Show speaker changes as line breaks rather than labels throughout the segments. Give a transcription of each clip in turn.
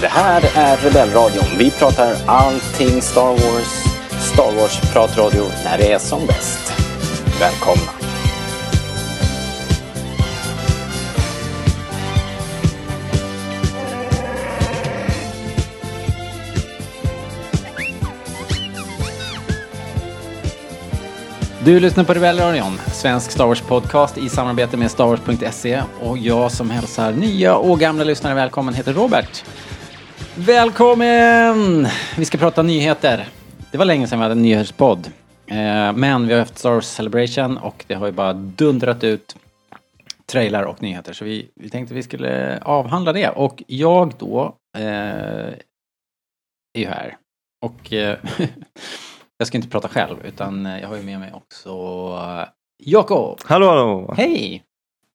Det här är Rebellradion. Vi pratar allting Star Wars. Star Wars-pratradio när det är som bäst. Välkomna!
Du lyssnar på Rebellradion, svensk Star Wars-podcast i samarbete med starwars.se. E. Och jag som hälsar nya och gamla lyssnare välkommen heter Robert. Välkommen! Vi ska prata nyheter. Det var länge sedan vi hade en nyhetspodd. Eh, Men vi har haft Star Wars Celebration och det har ju bara dundrat ut trailar och nyheter. Så vi, vi tänkte vi skulle avhandla det. Och jag då eh, är ju här. Och eh, jag ska inte prata själv utan jag har ju med mig också eh, Jakob.
Hallå, hallå!
Hej!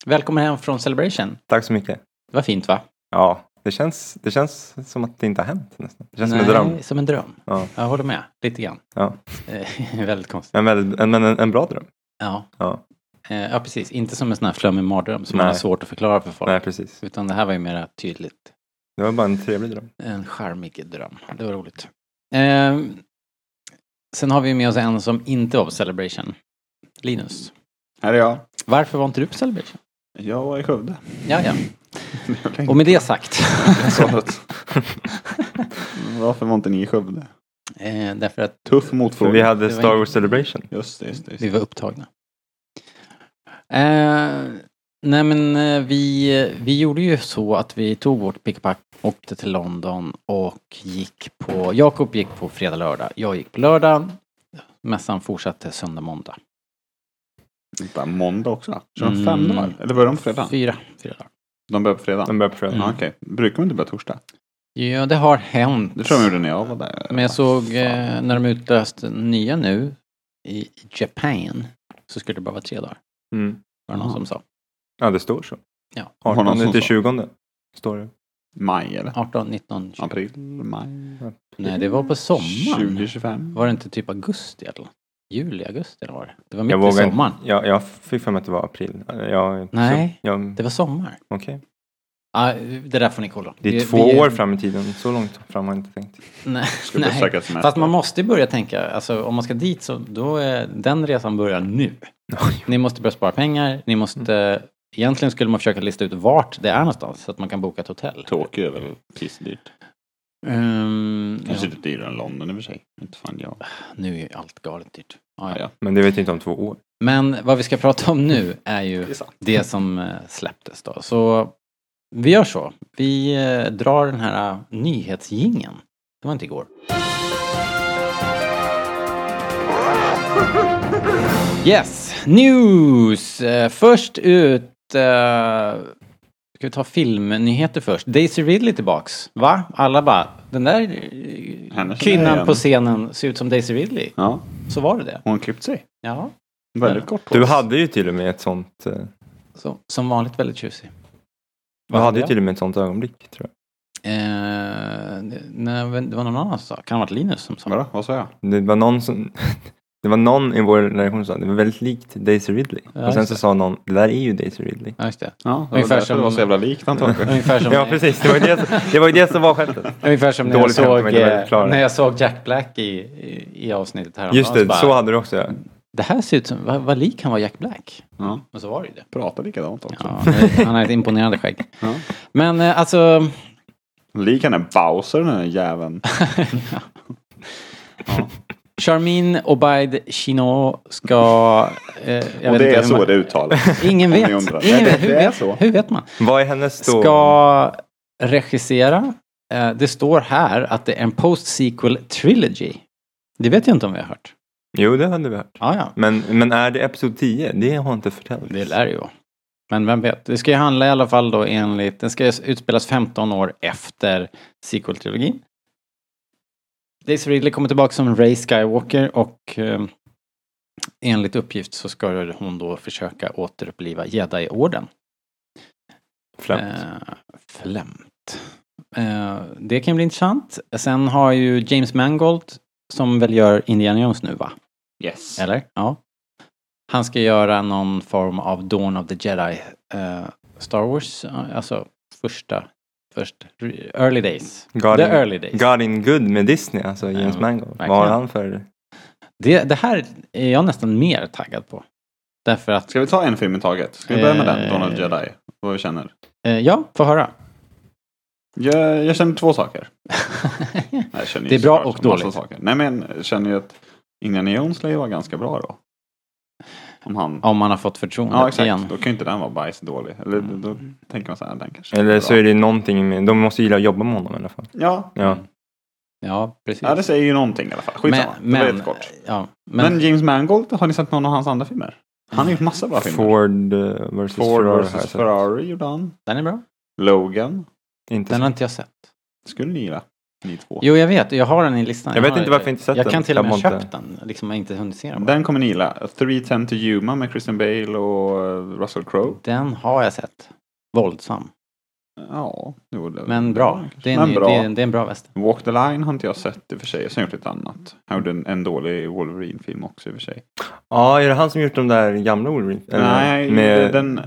Välkommen hem från Celebration.
Tack så mycket.
Det var fint va?
Ja, det känns, det känns som att det inte har hänt nästan. Det känns som en
Nej,
dröm.
Som en dröm.
Ja,
Jag håller med, lite grann.
ja.
Eh, Väldigt konstigt.
Men, väldigt, en, men en, en bra dröm.
Ja.
Ja,
Eh, ja, precis. Inte som en sån här flummig mardröm som man har
Nej.
svårt att förklara för folk.
nej precis.
Utan det här var ju mer tydligt.
Det var bara en trevlig dröm.
En charmig dröm. Det var roligt. Eh, sen har vi med oss en som inte var på Celebration. Linus.
Här är jag.
Varför var inte du på Celebration?
Jag var i Skövde.
Ja, ja. Och med det sagt.
Svaret. Varför var inte ni i Skövde?
eh, därför att
Tuff
För
motfråga.
vi
Det
hade
var
Star
inte-
Wars Celebration.
Just det, just det. Just
Vi
det.
var upptagna. Eh, nej men eh, vi, vi gjorde ju så att vi tog vårt pickpack, åkte till London och gick på, Jakob gick på fredag, lördag. Jag gick på lördag. Mässan fortsatte söndag, måndag.
Vänta, måndag också? Kör de fem
Mm.
dagar? Eller börjar de på fredag?
Fyra, fyra dagar.
De börjar på fredag?
Den började på fredag.
Ja, Okej, brukar de inte börja torsdag?
Ja, det har hänt.
Det tror jag de gjorde när jag var där.
Men jag såg eh, när de utlöste nya nu i Japan så skulle det bara vara tre dagar.
Mm.
Var det någon
Aha.
som sa.
Ja, det står så.
Ja.
Har någon
18
som
till
sa?
20 står det.
Maj eller?
18, 19, 20.
April, maj,
Mm, Nej, det var på sommaren.
2025?
Var det inte typ augusti eller något? Juli, augusti eller vad var det? Det var
Jag
mitt i
vågar
sommaren.
inte. Jag, jag fick för mig att det var april. Jag,
Nej.
så- jag-
Det var sommar.
Okej.
Ah, det där får ni kolla.
Det är
Vi-
två
vi-
år fram i tiden. Så långt fram har jag inte tänkt.
Nej,
Ska vi
nej.
försöka semester?
Fast man måste ju börja tänka, alltså om man ska dit så då är den resan börjar nu. Ni måste börja spara pengar, ni måste, egentligen skulle man försöka lista ut vart det är någonstans så att man kan boka ett hotell.
Tokyo är väl pissdyrt.
Ehm,
Kanske
ja,
inte dyrare än London i och för sig. Inte fan jag.
nu är ju allt galet dyrt. Ah, ja.
Ja, ja.
Men det vet jag inte om två år.
Men vad vi ska prata om nu är ju
Det är sant.
det som eh, släpptes då. Så vi gör så. Vi eh, drar den här eh, nyhetsjingeln. Det var inte igår. Yes, news! Eh, Först ut... eh, Ska vi ta filmnyheter först? Daisy Ridley tillbaks. Va? Alla bara, den där eh,
Hennes
kvinnan
igen.
på scenen ser ut som Daisy Ridley.
Ja,
Så var det det.
hon klippte sig.
Ja.
Väldigt kort
Du hade ju till och med ett sånt... eh,
Så, som vanligt väldigt tjusig.
Du hade ju
jag?
till och med ett sånt ögonblick tror jag.
Eh, det- nej, men det var någon annan som sa. Kan det ha varit Linus som sa?
Vadå, vad sa jag?
Det var någon som... Det var någon i vår relation som sa det var väldigt likt Daisy Ridley.
Ja,
och sen
just
så sa någon, det där är ju Daisy Ridley.
Ja, just det.
Ja, det var
Ungefär
därför
som-
det var så jävla likt antagligen.
Ungefär som,
Ja, precis. Det var ju det, som- det, var ju det som var skämtet.
Ungefär som när jag,
Dåligt skämt,
såg,
men det var
eh,
klarare.
när jag såg Jack Black i, i, i avsnittet här.
Just det,
bara,
så hade du också ja.
Det här ser ut som, vad, vad lik han var Jack Black.
Ja.
Men så var det ju det.
Pratar likadant också.
Ja, det- han har ett imponerande skägg.
Ja.
Men eh, alltså,
Lik han är Bowser den här jäveln.
Charmin Obaid Chino ska... Eh, jag
Och
vet
det
inte
är
hur
så
man,
det uttalas.
Ingen
om ni
vet.
undrar.
Ingen
Nej,
vet.
det-
Hur,
det är
vet
så.
hur vet man?
Vad är hennes då?
Ska regissera. Eh, det står här att det är en post-sequel trilogy. Det vet jag inte om vi har hört.
Jo, det hade vi hört.
Ja, ja.
Men, men är det Episod 10? Det har inte förtällt.
Det lär ju vara. Men vem vet. Det ska ju handla i alla fall då enligt... Den ska utspelas 15 år efter sequel-trilogin. Daisy Ridley kommer tillbaka som Ray Skywalker och eh, enligt uppgift så ska hon då försöka återuppliva Jedi-orden.
Främt.
Eh, flämt. Eh, det kan bli intressant. Sen har ju James Mangold, som väl gör Indiana Jones nu va?
Yes.
Eller? Ja. Han ska göra någon form av Dawn of the Jedi eh, Star Wars, eh, alltså första, först, early days.
Got
the
in-
early days.
Got in good med Disney, alltså James
Ja,
Mangold. Vad har
verkligen.
han för...
Det, det här är jag nästan mer taggad på. Därför att,
Ska vi ta en film i taget? Ska vi börja med den?
Eh.
Donald Jedi. Vad vi känner.
eh, ja, få höra.
Jag, jag känner två saker. Nej, Jag känner ju
Det är bra
såklart
och dåligt.
massa Saker. Nej men jag känner ju att Indiana Jones lär ju vara ganska bra då. Om han...
Om man har fått förtroendet
Ja exakt, Mm.
igen. Mm.
då kan ju inte den vara bajsdålig. Eller då tänker man så här, den kanske
Eller
bra.
så är det någonting med... De måste gilla att jobba med honom i alla fall.
Ja.
Ja.
Mm, Ja, precis.
ja, det säger ju någonting i alla fall. Skitsamma, det var jättekort.
ja, men,
Men, James Mangold, har ni sett någon av hans andra filmer? Han har gjort massa bra filmer.
Ford eh, versus
Ford
Ferrari. har jag
vs
sett.
Ferrari gjorde han.
den är bra.
Logan.
Inte
Den
sett.
har inte jag sett.
Skulle ni gilla? Ni två.
Jo, jag vet. Jag har den i listan.
Jag vet
har-
inte varför jag inte sett
Jag
den.
kan till och
Jag
med ha
mår inte-
köpt den. Liksom jag inte hunnit se den.
Den kommer ni gilla. 310 to Yuma med Christian Bale och eh, Russell Crowe.
Den har jag sett. Våldsam.
Ja, det var det.
Men bra. Det är en,
Men bra.
Det är, det är en bra väst.
Walk the Line har inte jag sett i och för sig. Sen har jag gjort lite annat. Han gjorde en, en dålig Wolverine-film också i och för sig.
Ja, är det han som gjort de där gamla Wolverine? Eller
Nej,
med,
den,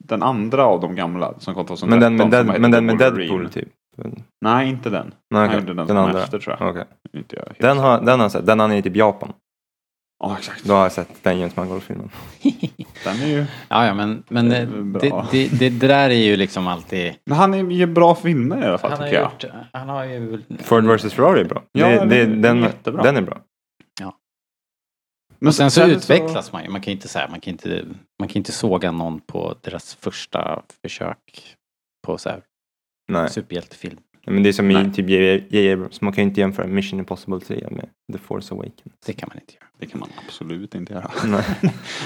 den andra av de gamla som kom 2013.
men den med,
som
Dead,
heter
men den med
Wolverine.
Deadpool typ?
Nej, inte den.
Nej,
Han
okej.
gjorde den,
den
som
andra.
efter tror jag.
Okej.
Inte jag helt-
Den, har, den har jag sett. Den han är i typ Japan.
Ja, exakt.
Då har jag sett den James Mangold-filmen.
Den är ju...
Ja, ja, men, men
Det
det,
är bra.
det, det, det, där är ju liksom alltid...
Men han är ju bra filmer i alla fall
Han har,
tycker jag.
gjort, han har ju...
Ford vs Ferrari är bra.
Ja,
Mm. det,
den
det,
är
den,
jättebra.
den är bra.
Men
Sen så utvecklas man ju. Man kan ju inte säga, man kan inte, man kan inte såga någon på deras första försök på så här
Nej.
superhjältefilm.
Men det är som
Nej.
i typ J.J. J.J. Abrams. Man kan ju inte jämföra Mission Impossible 3 med The Force Awakens.
Det kan man inte göra.
Det kan man absolut inte göra.
Nej.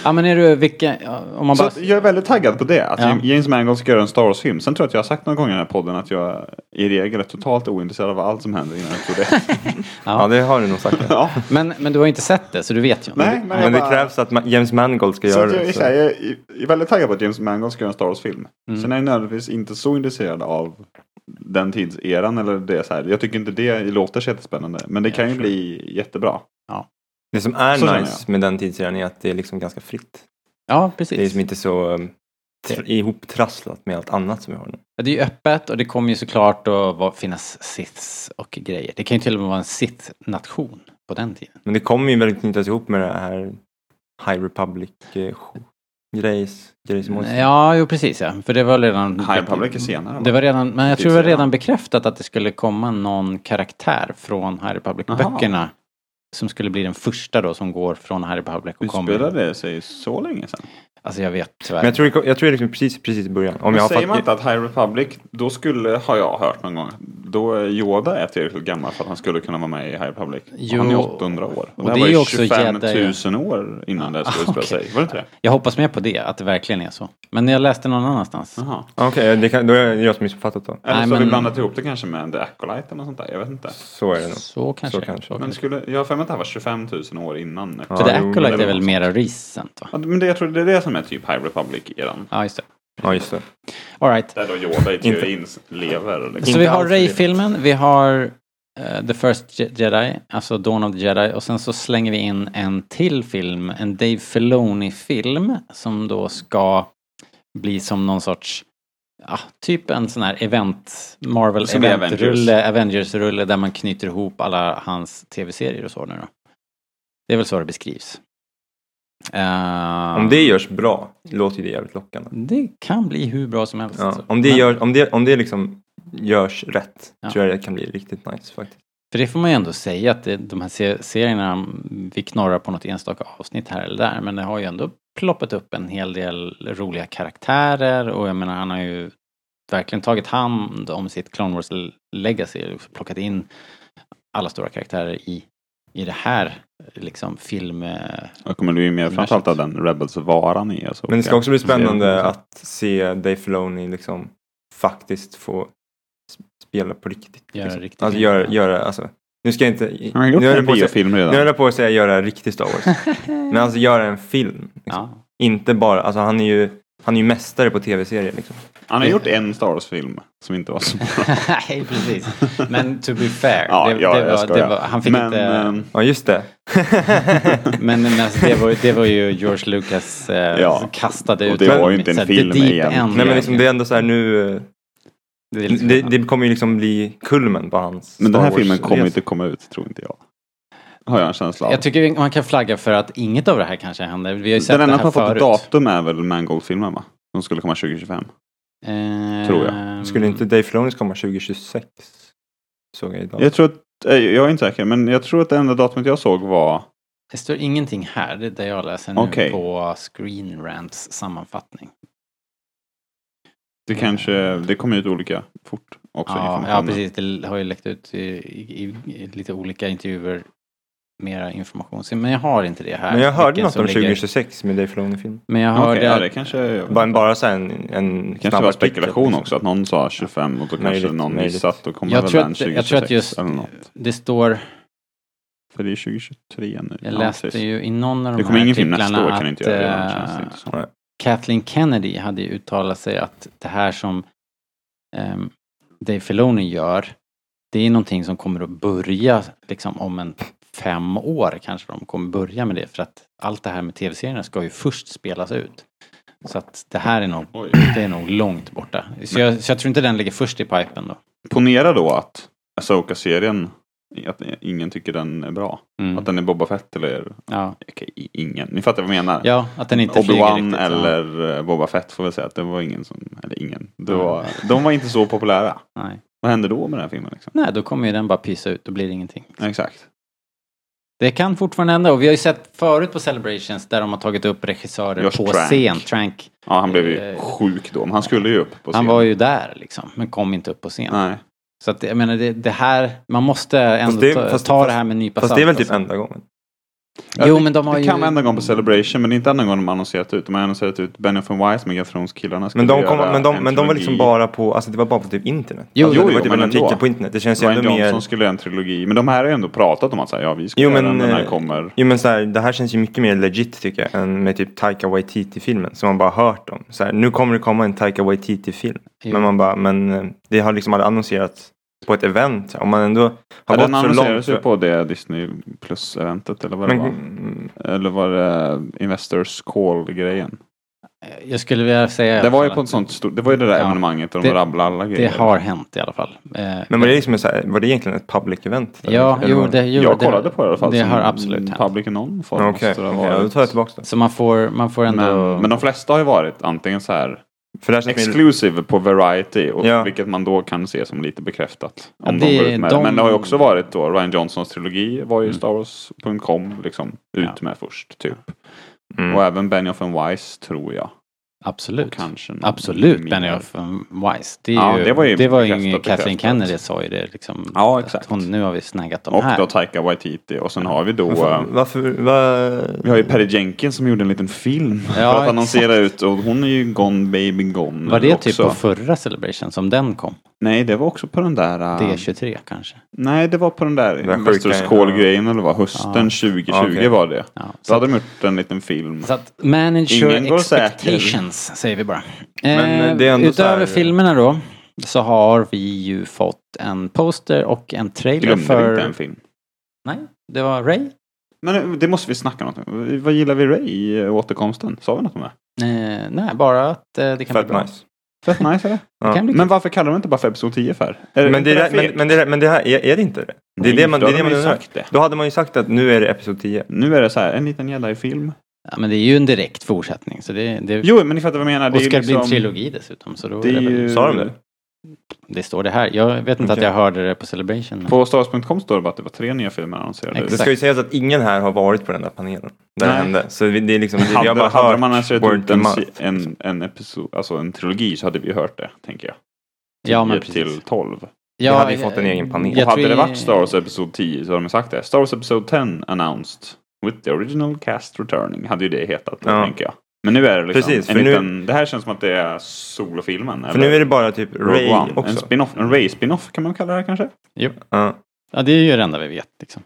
Ja, men är du, vilka, ja, om man
Så
bara...
att jag är väldigt taggad på det. Att
Ja.
James Mangold ska göra en Star Wars-film. Sen tror jag att jag har sagt någon gång i den här podden att jag i regel är totalt ointresserad av allt som händer innan jag tror det.
ja, det har du nog sagt.
ja.
Men, men du har ju inte sett det, så du vet ju inte.
Nej, men, jag
Men det
bara-
krävs att Ma- James Mangold ska
Så
göra
att jag,
det.
är
så-
så här, jag är jag är väldigt taggad på att James Mangold ska göra en Star Wars-film.
Mm.
Sen är jag nödvändigtvis inte så intresserad av den tidseran eller det så här. Jag tycker inte det låter så jättespännande. Men det
Ja,
kan ju
sure.
bli jättebra.
Det som är
Så känner
nice med den tidseran är att det är liksom ganska fritt.
Ja,
Det är
precis.
liksom inte så um, tr- ihoptrasslat med allt annat som vi har nu.
Ja, Det är ju öppet och det kommer ju såklart att vara- finnas sits och grejer. Det kan ju till och med vara en sit-nation på den tiden.
Men det kommer ju väldigt knytas ihop med det här High Republic eh, grejs, grejsmålet.
Mm, Ja, jo precis ja. För det var redan...
High Republic är senare.
Det
va?
var redan, men jag tror det var
Tidseran.
redan bekräftat att det skulle komma någon karaktär från Harry Republic-böckerna. Som skulle bli den första då som går från Harry Republic och
Utspelar
kommer...
det sig så länge sedan?
Alltså jag vet tyvärr.
Men jag tror, det ko- jag tror det är liksom precis, precis i början. Om
Men
jag har
säger man
fatt-
inte att High Republic, då skulle, har jag hört någon gång, då är Yoda är tillräckligt gammal för att han skulle kunna vara med i High Republic. Och
Jo.
han är 800 år. Och,
Och
det,
det är
här
ju
var ju
också
25
Jedi.
000 år innan det skulle
Ah,
utspela
okej.
sig. Var det inte det?
Jag hoppas mer på det, att det verkligen är så. Men jag läste någon annanstans.
Jaha.
Okej, det kan- då är det jag som missuppfattat då.
Eller
Nej,
så har
men-
vi blandat ihop det kanske med The Acolyte eller något sånt där. Jag vet inte.
Så är det nog.
Så kanske.
Så kanske.
Men skulle, jag har för mig att det här var 25 000 år innan.
Ja.
För The
jo, men
Acolyte
det
är väl
var
mera recent va?
Ja, Men det, jag tror det är det som är typ High Republic-eran.
Ja, just det.
Ja, just det.
All right.
Där då Yoda i teorin lever. Liksom.
Så
Inte
vi har
alls för
Ray-filmen, vi har eh, The First Je- Jedi, alltså Dawn of the Jedi och sen så slänger vi in en till film, en Dave Filoni-film som då ska bli som någon sorts, ja, typ en sån här event, Marvel
Som i
event-rulle, Avengers-rulle där man knyter ihop alla hans tv-serier och så nu då. Det är väl så det beskrivs. Eh,
Om det görs bra låter ju det jävligt lockande.
det kan bli hur bra som helst.
Ja. Om, det
Men-
gör, om, det, om det liksom görs rätt
Ja.
tror jag det kan bli riktigt nice faktiskt.
För det får man ju ändå säga att det, de här se- serierna, mm, vi knorrar på något enstaka avsnitt här eller där, men det har ju ändå ploppat upp en hel del roliga karaktärer och jag menar han har ju verkligen tagit hand om sitt Clone Wars Legacy och plockat in alla stora karaktärer i, i det här liksom film... eh,
Jag kommer bli mer framförallt av den Rebels-varan i. Alltså,
Men det ska också bli spännande
Mm.
att se Dave Filoni liksom faktiskt få s- spela på riktigt.
Göra
liksom.
riktigt
Alltså
film,
göra,
ja.
göra alltså. Nu ska jag inte...
Han har gjort
nu höll jag
en
på att säga-
biofilm redan.
nu höll jag på att säga göra riktig Star Wars. Men alltså göra en film. Liksom.
Ja,
Inte bara, alltså han är ju, han är ju mästare på tv-serier liksom.
Han har gjort en Star Wars-film som inte var så bra.
nej precis. Men to be fair,
Ja,
det,
ja,
det
jag
var, det
skojar.
var, han fick
men,
inte...
ehm,
Ja just det.
Men, men alltså, det, var, ju- det var ju George Lucas eh,
Ja.
som kastade
Och
ut.
det
men-
var ju inte en
så här,
film
the deep
egentligen.
end.
Nej men liksom det är ändå så här nu, eh,
Det är liksom-
det, det kommer ju liksom bli kulmen på hans
men den här
Star Wars-resa.
filmen kommer inte komma ut, tror inte jag. Har jag en känsla av.
Jag tycker vi- man kan flagga för att inget av det här kanske händer. Vi har ju sett
den
det
enda
här
som har
förut.
fått datum är väl Mangold-filmen va? Som skulle komma 2025.
Eh,
tror
Skulle inte Dave Filoni komma 2026? Såg jag idag.
Jag tror att, eh, jag är inte säker, men jag tror att det enda datumet jag såg var
Det står ingenting här, det är det jag läser nu
Okej.
på Screen Rants sammanfattning.
Det kanske, det kommer ut olika fort också.
Mm. Ja,
informationen.
ja, precis. Det har ju läckt ut i, i, i- i lite olika intervjuer. Mera information. Så- Men jag har inte det här.
Men jag hörde
Vilken
något
Äh, som
om
ligger-
2026 med Dave Filoni-film.
Men jag
Okej,
hörde
ja,
att-
det kanske,
Bara, bara så här en, en
det kanske
snabb
var
artikel,
spekulation
liksom.
också. Att någon sa 25 och då kanske
Möjligt,
någon
möjligt.
missat. Då kommer
Jag
väl
tror
den
att-
2026
jag tror att just-
eller något.
det står
För det är 2023 nu.
Jag
Ja,
läste
precis.
ju i någon av de
Det kommer
här
ingen film nästa år
artiklarna
kan det inte
att,
göra. Det
eh,
känns det inte som.
Nej.
Kathleen Kennedy hade ju uttalat sig att det här som um, Dave Filoni gör, det är någonting som kommer att börja liksom om en fem år kanske de kommer börja med det för att allt det här med tv-serierna ska ju först spelas ut. Så att det här är nog,
Oj.
det är nog långt borta. Så jag, så jag tror inte den ligger först i pipen då.
Ponera då att Asoka-serien, att ingen tycker den är bra.
Mm.
Att den är Boba Fett eller
Ja.
okej, i- ingen. Ni fattar vad jag menar.
ja, att den inte flyger
Obi-Wan
riktigt. ja.
eller eh, Boba Fett får vi säga att det var ingen som, eller ingen. Det var, de var inte så populära.
Nej.
Vad hände då med den här filmen? Liksom?
Nej, då kommer ju den bara pysa ut, då blir det ingenting.
Exakt.
Det kan fortfarande hända och vi har ju sett förut på Celebrations där de har tagit upp regissörer
Just
på
Trank.
scen. Trank.
Ja, han blev ju
Eh,
sjuk då. Men han skulle ju upp på
Han
scen.
var ju där liksom, men kom inte upp på scen.
Nej.
Så att, jag menar, det, det här, man måste ändå
Fast det-
ta,
fast-
ta det
fast-
här med en nypa
Fast det är väl typ
alltså.
enda gången.
Jo,
det,
men de har
det
ju...
kan vara enda gången på Celebration, men det är inte enda gången de har annonserat ut. De har annonserat ut Benioff and Wise, migrationskillarna. skulle
Men de, kom,
göra
men, de,
en
men de var liksom
trilogi.
bara på, alltså det var bara på typ internet.
Jo,
alltså,
jo,
det var
jo,
typ
men
en
ändå.
artikel på internet. Det känns ju
Ryan
ändå
Johnson
mer,
skulle göra en trilogi. Men de här har ju ändå pratat om att så här, ja, vi ska
Jo,
göra
men,
den, den här
eh,
kommer.
jo men så här, det här känns ju mycket mer legit tycker jag än med typ Taika Waititi-filmen som man bara hört om. Så här, nu kommer det komma en Taika Waititi-film.
Jo.
Men man bara, men eh, det har liksom aldrig annonserats på ett event. Om man ändå
Ja,
har
den
gått så långt.
annonserades ju
så-
på det Disney Plus-eventet eller vad det
Men,
var.
mm,
Eller var det Investors Call-grejen?
Jag skulle vilja säga...
Det var ju
att
på ett sånt stort, det var ju det
Ja.
där evenemanget där de
Det-
rabblade alla
Det
grejer.
har hänt i alla fall. Eh,
men var, det liksom så här, var det egentligen ett public event?
Ja,
Eller
jo,
vad-
det, jo,
jag
det-
kollade på det i alla fall. Mm,
Det
som
har absolut hänt.
Public i någon form.
Okej,
måste det ha
okej, ja, då
varit.
tar jag tillbaka det.
Så man får, man får ändå...
men, men de flesta har ju varit antingen så här
För det här känns mer-
exclusive på Variety, och,
Ja.
vilket man då kan se som lite bekräftat. Om
det-
de går ut med
de-
det.
Mm.
Men det har ju också varit då, Ryan Johnsons trilogi var ju Star Wars.com liksom ut
Ja.
med först, typ.
Mm.
Och även Benioff and Weiss tror jag.
Absolut.
Kanske någon
Absolut,
mindre.
Benioff and Wise. Det, är
Ja,
ju,
det var ju
det var ju
bekräftat,
Kathleen
bekräftat.
Kennedy sa ju det liksom.
Ja,
att
exakt.
Hon, nu har vi snaggat dem
Och
här.
då Taika Waititi. Och sen har vi då... eh,
Varför? varför vad-
Vi har ju Perry Jenkins som gjorde en liten film
Ja,
för att annonsera ut och hon är ju Gone Baby Gone.
Var
nu
det
också.
typ på förra Celebration som den kom?
Nej, det var också på den där... äh,
D23 kanske?
Nej, det var på den där
där
Investors
sjuka-
Call-grejen eller vad? Hösten
Ja.
2020
Ja, okej.
var det.
Ja,
Då
så,
hade de gjort en liten film.
så att manage your
Ingen går säker.
expectations säger vi bara.
Men,
eh,
eh, det är ändå så här-
utöver filmerna då så har vi ju fått en poster och en
Vi
trailer
glömde
för...
inte en film.
Nej, det var Ray.
Men eh, det måste vi snacka om. något. Vad gillar vi Ray i eh, återkomsten? Sa vi något om det?
Eh, nej, bara att eh, det kan bli
Fett
bra.
nice.
Fett nice eller?
Det kan bli
Men varför kallar de inte bara för Episod 10 för? Är
Men
inte
det, är,
fel?
men, men, det är, men det här, är, är det inte det? Det är
Nej,
det man,
då
det är
hade
det man
de ju
undrar.
sagt det.
Då hade man ju sagt att nu är det episod 10.
Nu är det så här, en liten jedi-film.
Ja, men det är ju en direkt fortsättning. Så det, det,
Jo, men ni fattar vad jag menar.
och ska
ju liksom-
det bli en trilogi dessutom. Så då
Det, är ju,
Sa de det?
det står det här. Jag vet inte att
Okej.
jag hörde det på Celebration. Men...
På stars.com står det bara att det var tre nya filmer annonserade.
Exakt.
Det ska ju sägas att ingen här har varit på den där panelen. Där det
Nej.
hände. Så vi- det är liksom, vi har
Hade,
bara
hade
hört
man ens gett
word
ut en,
to mouth.
en, en, episod, alltså en trilogi så hade vi hört det, tänker jag.
Ja, men
10
precis.
till 12.
Ja,
hade ju fått en egen panel.
Och
Jag
hade
tror-
det varit Star Wars Episod 10 så hade de sagt det. Star Wars Episod 10 announced with the original cast returning. Hade ju det hetat, då,
Ja.
tänker jag. Men nu är det liksom
Precis,
en
för nu-
liten, Det här känns som att det är solofilmen.
För nu är det bara typ Ray
Rogue One. En,
också.
spin-off, en Ray-spin-off kan man kalla det här kanske?
Ja.
Ja, det är ju det enda vi vet. Liksom.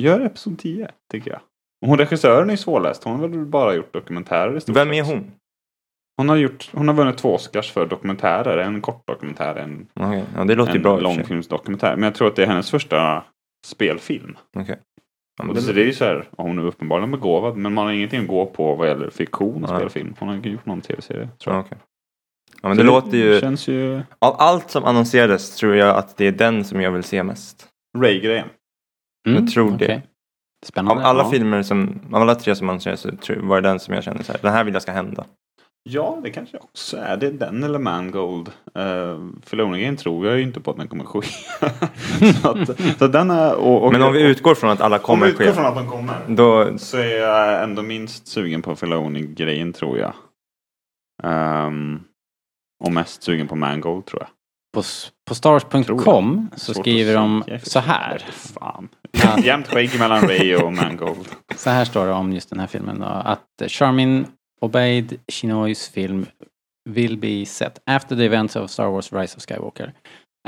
Gör Episod 10, tycker jag. Och Hon regissören är ju svårläst. Hon har väl bara gjort dokumentärer i stort
Vem är
sett.
hon?
Hon har, gjort, hon har vunnit två Oscars för dokumentärer. En kort dokumentär, en,
Okej, Ja, det låter ju
en
bra i och för sig.
långfilmsdokumentär. Men jag tror att det är hennes första spelfilm.
Okej. Ja, men
Och
det-
så det är ju så här, ja, hon är uppenbarligen begåvad men man har ingenting att gå på vad gäller fiktion och
Nej.
spelfilm. Hon har inte gjort någon tv-serie tror
Ja,
jag.
okej. ja men
Så
det låter ju...
känns ju...
Av allt som annonserades tror jag att det är den som jag vill se mest.
Ray-grejen.
Jag tror det.
Mm, okej.
Av
Spännande.
alla
ja.
filmer som, av alla tre som annonserades så tror- var det den som jag kände så här, den här vill jag ska hända.
Ja, det kanske också är. Det är den eller Mangold. Uh, Filoni-grejen tror jag ju inte på att den kommer ske. så att, så den är... Och, och,
Men om vi utgår från att alla
om vi
kommer
utgår
ske,
från att den kommer.
då...
så är jag ändå minst sugen på Filoni-grejen tror jag. Ehm, och mest sugen på Mangold tror jag.
På, s- på starwars.com så
Svårt att
skriver de
kika i
så
Jag
här.
vet Fan.
Ja.
Jämnt skägg mellan Ray och Mangold.
Så här står det om just den här filmen då, att Charmin Obeid Chinoys film will be set after the events of Star Wars Rise of Skywalker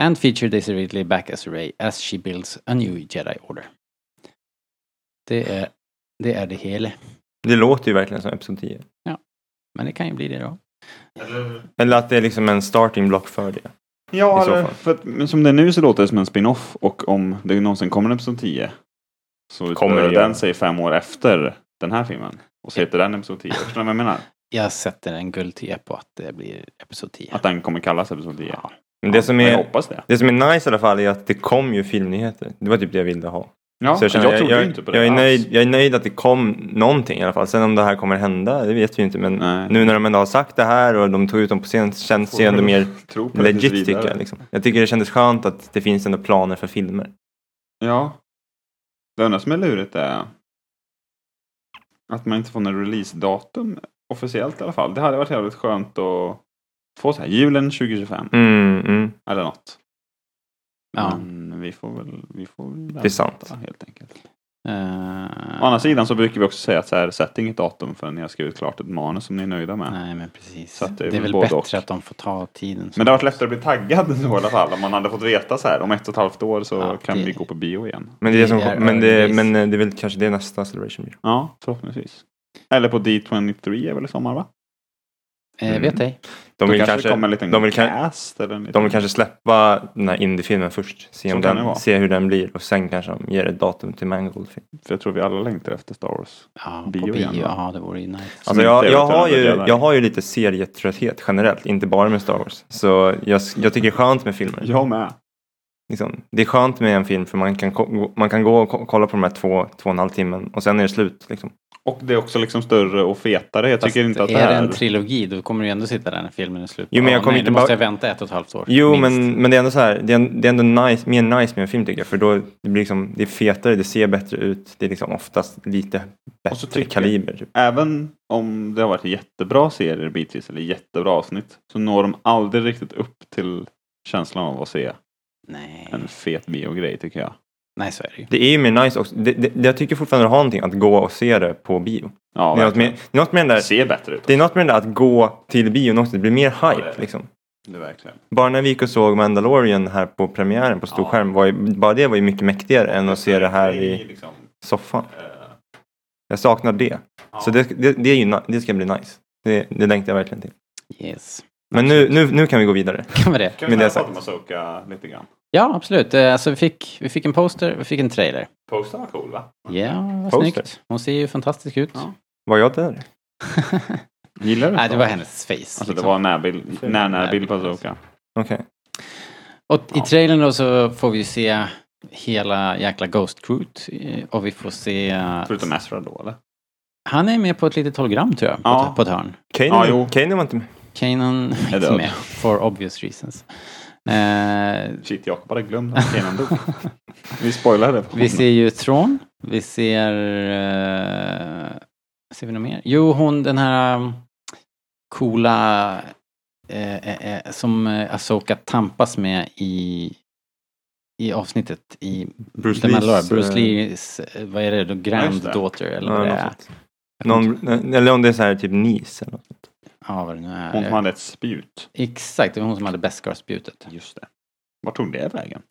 and feature Daisy Ridley back as Rey as she builds a new Jedi Order. Det är det, är det hela.
Det låter ju verkligen som Episod 10.
Men det kan ju bli det då.
Eller att det är liksom en starting block för det.
Ja,
I så
eller,
fall.
för att, men som det är nu så låter det som en spin-off och om det någonsin kommer en episod 10 så
Kommer det
kommer
göra.
den sig fem år efter den här filmen. Och så heter den episod 10. Förstår ni vad jag menar?
Jag sätter en guldtia på att det blir Episod 10.
Att den kommer kallas episod 10. Ja,
Men det som
jag
är,
hoppas det.
det som är nice i alla fall är att det kom ju filmnyheter. Det var typ det jag ville ha.
Ja,
Så
jag,
känner-
trodde ju inte på det
jag är,
alls.
nöjd, jag är nöjd att det kom någonting i alla fall. Sen om det här kommer hända, det vet vi ju inte. Men
Nej.
nu när de ändå har sagt det här och de tog ut dem på scen så känns det ju ändå mer
Tror på det tills
legit tycker
vidare.
jag. Liksom. Jag tycker det kändes skönt att det finns ändå planer för filmer.
Ja. Det enda som är lurigt är att man inte får något releasedatum officiellt i alla fall. Det hade varit jävligt skönt att få så här julen 2025
Mm, mm,
eller något.
Ja.
Men vi får väl, vi får väl
det är
vänta
sant.
helt enkelt. Å
Eh,
andra sidan så brukar vi också säga att så här, sätt inget datum förrän ni har skrivit klart ett manus som ni är nöjda med.
nej men precis.
Så att
det, är
det är väl
väl
både
bättre
och.
att de får ta tiden.
Men det har varit lättare att bli taggad nu i alla fall. Om man hade fått veta så här om ett och ett halvt år så
Ja,
kan
det-
vi gå på bio igen.
Men det, är
Det
det som,
är
men, det,
överpris.
men eh, det är väl kanske det nästa Celebration blir.
Ja, förhoppningsvis. Eller på D23 är väl i sommar va?
Eh,
Mm.
vet ej.
De
Då
vill
kanske,
kanske,
det kommer en liten
de vill, kan-
cast. Eller en liten...
de vill kanske släppa den här indie-filmen först. Se,
Så
om
kan det vara.
den, se hur den blir och sen kanske de ger ett datum till Mangold. Film.
För jag tror vi alla längtar efter Star Wars.
Ja,
Bio
på bio.
igen, va?
Ja, det vore ju nice.
Alltså
inte
jag,
är
jag, har ju,
Return of the Jedi.
jag har ju lite serietrötthet generellt, inte bara med Star Wars. Så jag, jag tycker det är skönt med filmer.
Jag med.
Liksom, det är skönt med en film för man kan, ko- man kan gå och ko- kolla på de här två, två och en halv timmen och sen är det slut. Liksom.
Och det är också liksom större och fetare. Jag
Fast
tycker inte att det
är det
här...
en trilogi då kommer du ändå sitta där när filmen är slut.
Jo, men jag
Ja,
kommer
nej,
inte
då måste
bara-
jag vänta ett och ett halvt år.
Jo,
minst.
men, men det är ändå så här, det är, det är ändå nice, mer nice med en film tycker jag. För då det blir liksom, det är fetare, det ser bättre ut, det är liksom oftast lite
Och så
bättre
tycker jag-
kaliber. Typ.
Även om det har varit jättebra serier bitvis, eller jättebra avsnitt, så når de aldrig riktigt upp till känslan av att se
Nej.
en fet biogrej tycker jag.
nej, så är det ju.
Det är ju mer nice också. Det, det, det, jag tycker fortfarande att ha någonting att gå och se det på bio.
Ja,
det, är något med, det är något med den
verkligen.
där,
ser bättre ut.
det är något med den där att gå till bion också, det blir mer hype.
det är det.
liksom.
Det är verkligen.
Bara när vi gick och såg Mandalorian här på premiären på stor
Ja.
skärm, var ju, bara det var ju mycket mäktigare än att se det här
Det är
i
liksom,
soffan.
eh,
Jag saknar det.
ja.
Så det, det, det, är ju, na- det ska bli nice. Det, det längtar jag verkligen till.
Yes.
Men nu, nu, nu kan vi gå vidare.
Kan vi det?
Kan
med
vi
det
det
sagt.
prata om Asoka lite grann?
Ja, absolut. Eh, Alltså, vi, fick, vi fick en poster, vi fick en trailer.
Posten var cool va?
Ja, vad
Poster.
snyggt. Hon ser ju fantastisk ut.
Ja.
Var jag där?
Gillar du
nej, det
Star
var
Wars?
hennes face.
Alltså det
liksom.
var en närbild, när, närbild på
Närbild.
Asoka.
Okej.
Och i
Ja.
trailern då så får vi ju se hela jäkla Ghost Groot. eh, Och vi får se...
Förutom Ezra då eller?
Han är med på ett litet hologram tror jag, på,
Ja.
ett, på ett hörn.
Kane,
Ja, jo.
Kane var inte med.
Kanan är inte
död.
med, for obvious reasons. Eh,
Shit, Jakob hade glömt att Kenan dog. Vi spoilade det.
vi ser ju Tron, vi ser... eh, ser vi något mer? Jo, hon den här um, coola eh, eh, eh, som eh, Asoka tampas med i, i avsnittet i
Bruce
The Mandalorian.
Lees,
Bruce
eh,
Lees, eh, vad är det då, granddaughter eller
ja,
vad det
något
är.
sånt. Någon, eller om det är så här typ Nice eller något.
Ja, vad det nu är.
Hon som hade ett spjut.
Exakt, det var hon som hade Beskar-spjutet.
Just det. Vart tog det vägen?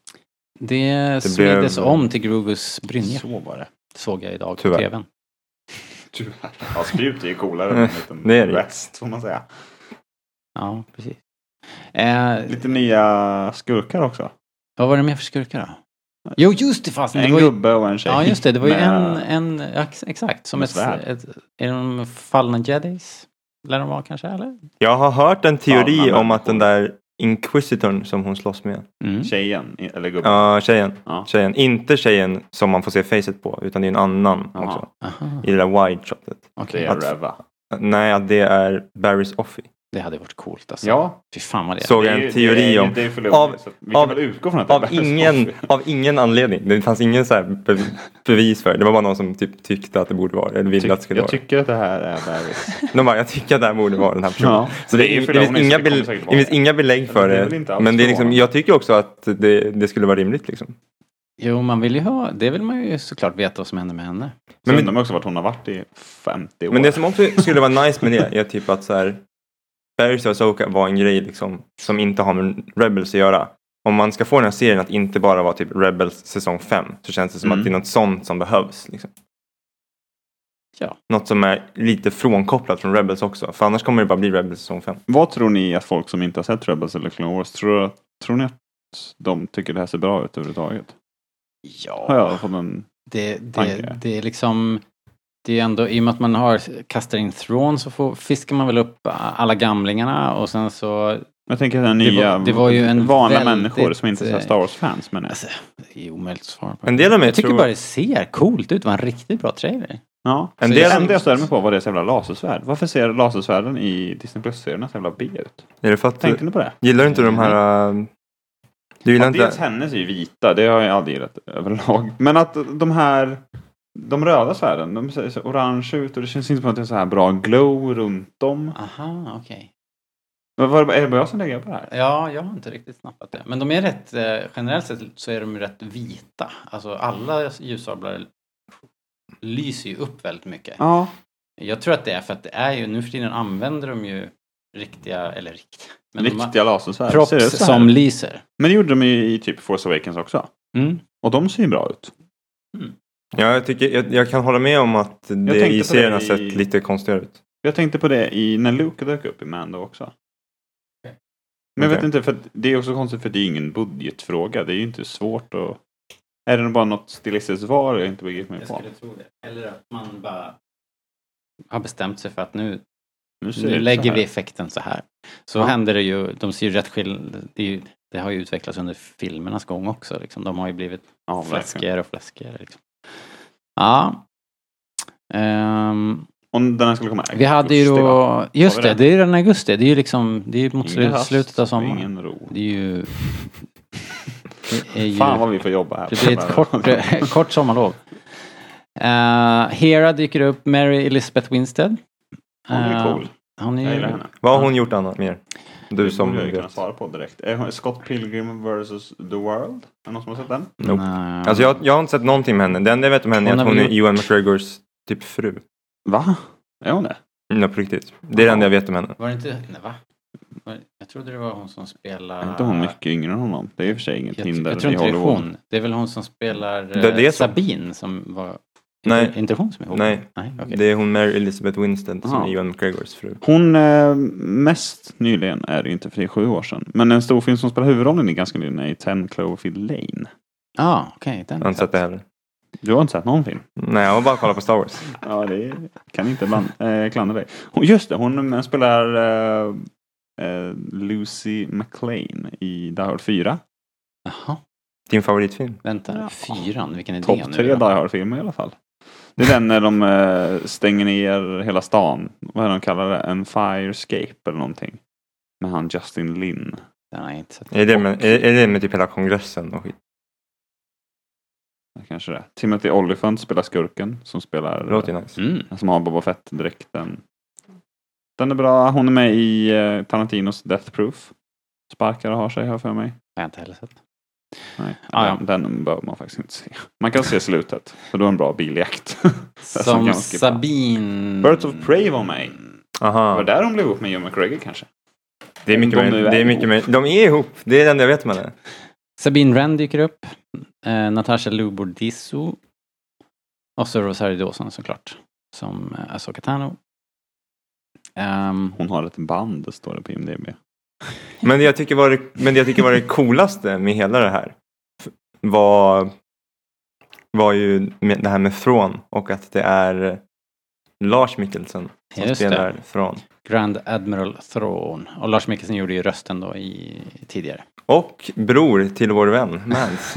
Det, smiddes om till Grovus brynja.
Så var det.
Såg jag idag
Tyvärr.
på tvn.
Tyvärr. Ja, spjut är ju coolare än en liten
Det är det.
rest, får man säga.
Ja, precis. Eh,
Lite nya skurkar också.
vad var det mer för skurkar då? Jo, just det! Fast, det
En
var ju,
gubbe och en tjej.
ja, just det. Det var ju en,
med-
en ja, ex- exakt, som
med
ett,
svärd.
ett, är de fallna jedis? Lär de vara kanske, eller?
Jag har hört en teori
Fan, han
om
är
att den där Inquisitorn som hon slåss med.
Mm.
Tjejen, i- eller gubben.
Ja, tjejen.
Ja.
tjejen. Inte tjejen som man får se facet på, utan det är en annan
Jaha.
också.
Aha,
I det där wide shotet.
okej.
Det är Reva.
Nej, att det är Barrys Offie.
Det hade varit coolt alltså.
Ja,
Fy fan vad det är.
Såg
det
jag
är ju-
en teori
det är,
om.
Det är
Av-
förlorad, så vi kan
av-
väl utgå från att det
Av
är Barry's
ingen,
Offie.
av ingen anledning. Det fanns ingen så här be- bevis för det. Det var bara någon som typ tyckte att det borde vara det, Eller ville att det
Tyck,
skulle
jag
vara
tycker att det här är Barrys.
det. De bara, jag tycker att det här borde vara den här personen.
ja.
Så det,
är ju
det, finns
förlovning,
inga
så det kommer
bel-
säkert
det finns
vara.
inga belägg för
Det är
det.
väl inte alls
men det är liksom,
förvånande.
jag tycker också att det, det skulle vara rimligt. Liksom.
Jo, man vill ju ha, det vill man ju såklart veta vad som hände med henne.
Men
Men-
undrar man också vart hon har varit i 50 år.
Men det som också skulle vara nice med det är typ att så här, Barrys och Asoka var en grej liksom, som inte har med Rebels att göra. Om man ska få den här serien att inte bara vara typ Rebels säsong 5 så känns det som
Mm.
att det är något sånt som behövs. Liksom.
Ja.
Något som är lite frånkopplat från Rebels också. För annars kommer det bara bli Rebels säsong 5.
Vad tror ni att folk som inte har sett Rebels eller Clone Wars, tror, tror ni att de tycker det här ser bra ut överhuvudtaget?
Ja.
Har jag fått en...
Det, det,
Tanke.
det är liksom, det är ändå, i och med att man har, kastar in Thrawn så får, fiskar man väl upp alla gamlingarna och sen så,
Jag tänker den
Det var-
nya,
det var ju en
vanliga
väldigt, eh,
människor som inte är så här Star Wars-fans men
alltså, det är omöjligt att svara på.
En del av mig
jag tycker
tror-
bara det ser coolt ut, det var en riktigt bra trailer.
Ja.
En
En
del-
det enda jag störde mig på var deras jävla lasersvärd. Varför ser lasersvärden i Disney Plus-serierna så jävla B ut?
Är det för att,
Tänkte ni på det?
gillar du inte de här... äh, Du gillar
Mm. Ja, dels
inte...
hennes är ju vita, det har jag aldrig gillat överlag. Men att de här, de röda svärden, de ser så orange ut och det känns inte som att det är så här bra glow runt dem.
Aha, okej.
Men var, är det bara jag som lägger på det här?
Ja, jag har inte riktigt snappat det. Men de är rätt, eh, generellt sett så är de ju rätt vita. Alltså alla ljussablar lyser ju upp väldigt mycket.
Ja,
Jag tror att det är för att det är ju, nu för tiden använder de ju riktiga, eller riktiga, men de har-
riktiga lasersvärd. Ser det ut
Props
så här?
som lyser.
Men det gjorde de ju i typ Force Awakens också. Och de ser ju bra ut.
Ja, jag, tycker, jag, jag kan hålla med om att det
tänkte på
i
det
serien har
i-
sett lite konstigare ut.
Jag tänkte på det i, när Luke dök upp i Mando också. Men jag vet
Okej.
inte, för att det är också konstigt för det är ju ingen budgetfråga. Det är ju inte svårt att... Är det bara något stilistiskt val jag inte begriper mig på?
tro det. Eller att man bara har bestämt sig för att nu,
Nu, ser det
nu
ut så
lägger
här.
vi effekten så här. Så
Ja.
händer det ju, de ser ju rätt skill... Det, är ju, det har ju utvecklats under filmernas gång också. Liksom. De har ju blivit
Ja, verkligen.
fläskigare och fläskigare. Liksom. Ja. Ehm,
Om den här skulle komma i
vi hade ju
augusti, va?
då, just
Har vi
det,
det?
det är ju redan augusti. Det är ju liksom, det är ju mot
Ingen
slu-
hast,
slutet av sommaren.
Ingen ro.
Det är ju... Det är ju...
Fan vad vi får jobba här.
Det blir ett kort, kort sommarlov. Eh, Hera dyker upp, Mary Elizabeth Winstead.
Hon är
Eh,
cool.
hon är
Jag
ju-
gillar henne.
Vad har hon gjort annat mer? Du
Det
som
borde jag ju kunna
vet.
svara på direkt. Är hon- Scott Pilgrim vs. The World? Är det någon som har sett den?
Nope.
Nej.
Alltså jag, jag har inte sett någonting med henne. Det enda jag vet om henne
Hon
är
har
att hon
väl
är Ewan McGregors typ fru.
Va? Är hon det?
Nej, på riktigt. Det är det enda jag vet om henne.
Var det inte... Nej, va? Var- Jag trodde det var hon som spelar...
Är inte hon mycket yngre än honom? Det är i och för sig inget
Jag,
hinder
jag tror
i
inte det är
Hollywood.
hon. Det är väl hon som spelar eh,
Det- det är så.
Sabine som var...
Nej.
Inte- Inte hon som är hon?
Nej.
Nej okej.
Det är hon Mary Elizabeth Winstead som
Oh, Aha.
är Ewan McGregors fru.
Hon eh, mest nyligen är det ju inte, för det är sju år sedan. Men en storfilm som spelar huvudrollen i ganska nyligen är i 10 Cloverfield Lane.
Ah, okej. den.
Jag har inte sett det heller.
Du har inte sett någon film?
Nej, jag har bara kollat på Star Wars.
Ja, det kan inte bland, eh, klandra dig. Hon, just det, hon spelar eh, eh, Lucy McLean i Die Hard 4.
Jaha,
Din favoritfilm?
vänta.
Ja.
Fyran, vilken är det
Topp
nu?
tre Die
då?
Hard-filmer i alla fall. Det är den när de eh, stänger ner hela stan. Vad är det de kallar det? En firescape eller någonting. Med han Justin Lin.
Den har jag inte sett.
Är det, med, är, är det med typ hela kongressen och skit?
Kanske det. Timothy Olyphant spelar skurken som spelar... eh,
Det låter ju nice.
Mm.
Som har Boba Fett-dräkten. Den är bra. Hon är med i eh, Tarantinos Death Proof. Sparkar och har sig, här för mig.
Har jag inte heller sett.
Nej,
Ah, ja.
den, den behöver man faktiskt inte se. Man kan se slutet, för då är det en bra biljakt. som kan
Som
man skippa.
Sabine...
Birds of Prey var med. Det Mm. var
Aha.
där hon blev ihop med Joe McGregor kanske.
Det är mycket
De
de
nu är
det är mycket
ihop.
mer. De är ihop. Det är det enda jag vet man det.
Sabine Wren dyker upp. Eh, Natasha Lubor Disso. Och så Rosario Dawson såklart. Som eh, Asoka Tano. Ehm,
Hon har ett band, står det på IMDB.
Men det jag tycker var det, men det, jag tycker var det coolaste med hela det här f- var, var ju med- det här med Från och att det är Lars Mikkelsen som
Just det.
spelar Från.
Grand Admiral Thrawn. Och Lars Mikkelsen gjorde ju rösten då i, tidigare.
Och bror till vår vän Mans.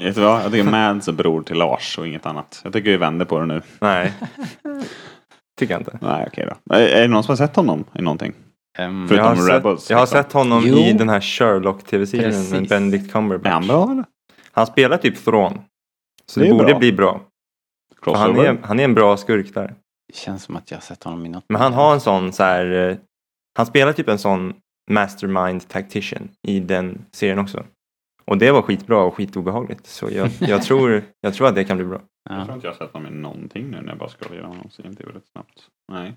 Vet du vad? Jag tycker Mads är bror till Lars och inget annat. Jag tycker vi vänder på det nu.
Nej, tycker jag inte.
Nej, okej då. Är, är det någon som har sett honom i någonting?
Ehm,
För-
Jag har,
Utom Rebels,
sett, jag har
liksom.
sett honom
Jo.
i den här Sherlock-tv-serien med
Precis.
Benedict
Är han
Cumberbatch.
bra eller?
Han spelar typ Från. Så
Det
det,
är
borde
bra.
bli bra. För Han
Crossover?
är, han är en bra skurk där.
känns som att jag har sett honom i något.
Men han har en sån så här, eh, han spelar typ en sån mastermind tactician i den serien också. Och det var skitbra och skitobehagligt. Så jag, jag, tror, jag tror att det kan bli bra.
Jag
Ja.
tror inte jag har sett honom i någonting nu när jag bara scrollar igenom honom. Så IMDb rätt snabbt. Nej.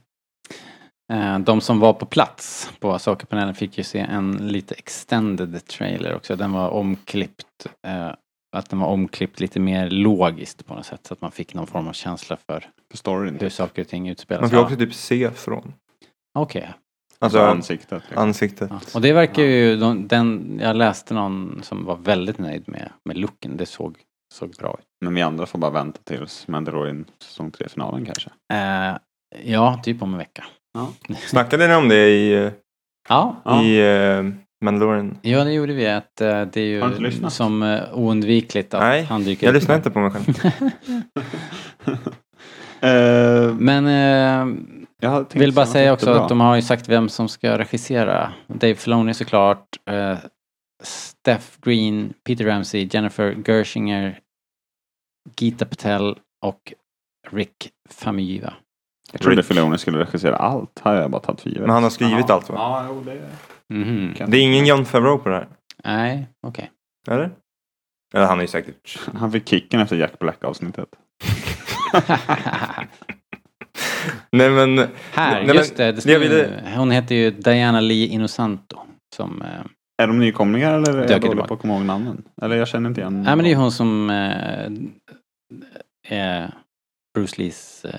Eh, De som var på plats på Asoka-panelen fick ju se en lite extended trailer också. Den var omklippt. eh, Att den var omklippt lite mer logiskt på något sätt. Så att man fick någon form av känsla för
För storyn.
typ.
hur saker och ting utspelas.
Man får
Ja,
också typ se från.
Okej.
Alltså
Alltså
ansiktet. liksom.
ansiktet.
Ja. Och det verkar ju, de- den, jag läste någon som var väldigt nöjd med, med looken. Det såg, såg bra ut.
Men vi andra får bara vänta tills Mandalorian säsong 3-finalen kanske.
Eh, ja, typ om en vecka.
Snackade ni om det i, eh,
Ja,
Ja.
i eh, Mandalorian?
ja det gjorde vi. Att, eh, det är
Har du inte
ju
lyssnat?
som eh, oundvikligt att
Nej,
han dyker
Jag
upp.
lyssnar inte på mig själv. Ehm,
Eh,
Men eh,
jag
Jag vill bara säga också att de har ju sagt vem som ska regissera. Dave Filoni såklart, eh, Steph Green, Peter Ramsey, Jennifer Gershinger, Gita Patel och Rick Famuyiwa.
Jag trodde
Rick.
Filoni skulle regissera allt. Här har jag bara tagit för givet.
Men han har skrivit allt va?
Ja, jo, det
Mhm.
kan
Det är ingen John Favreau på det här?
Nej, okej.
Eller? Eller han är ju säkert...
Han fick kicken efter Jack Black-avsnittet.
Nej men
Här,
Nej, men
just det. det
det
står
jag
ju-
ville-
Hon heter ju Diana Lee Inosanto. Som, eh,
Mm.
Är de nykomlingar eller är
Dök
jag
inte
dålig
bak.
på att komma ihåg namnen? Eller jag känner inte igen
Nej men det är ju hon som eh, är Bruce Lees eh,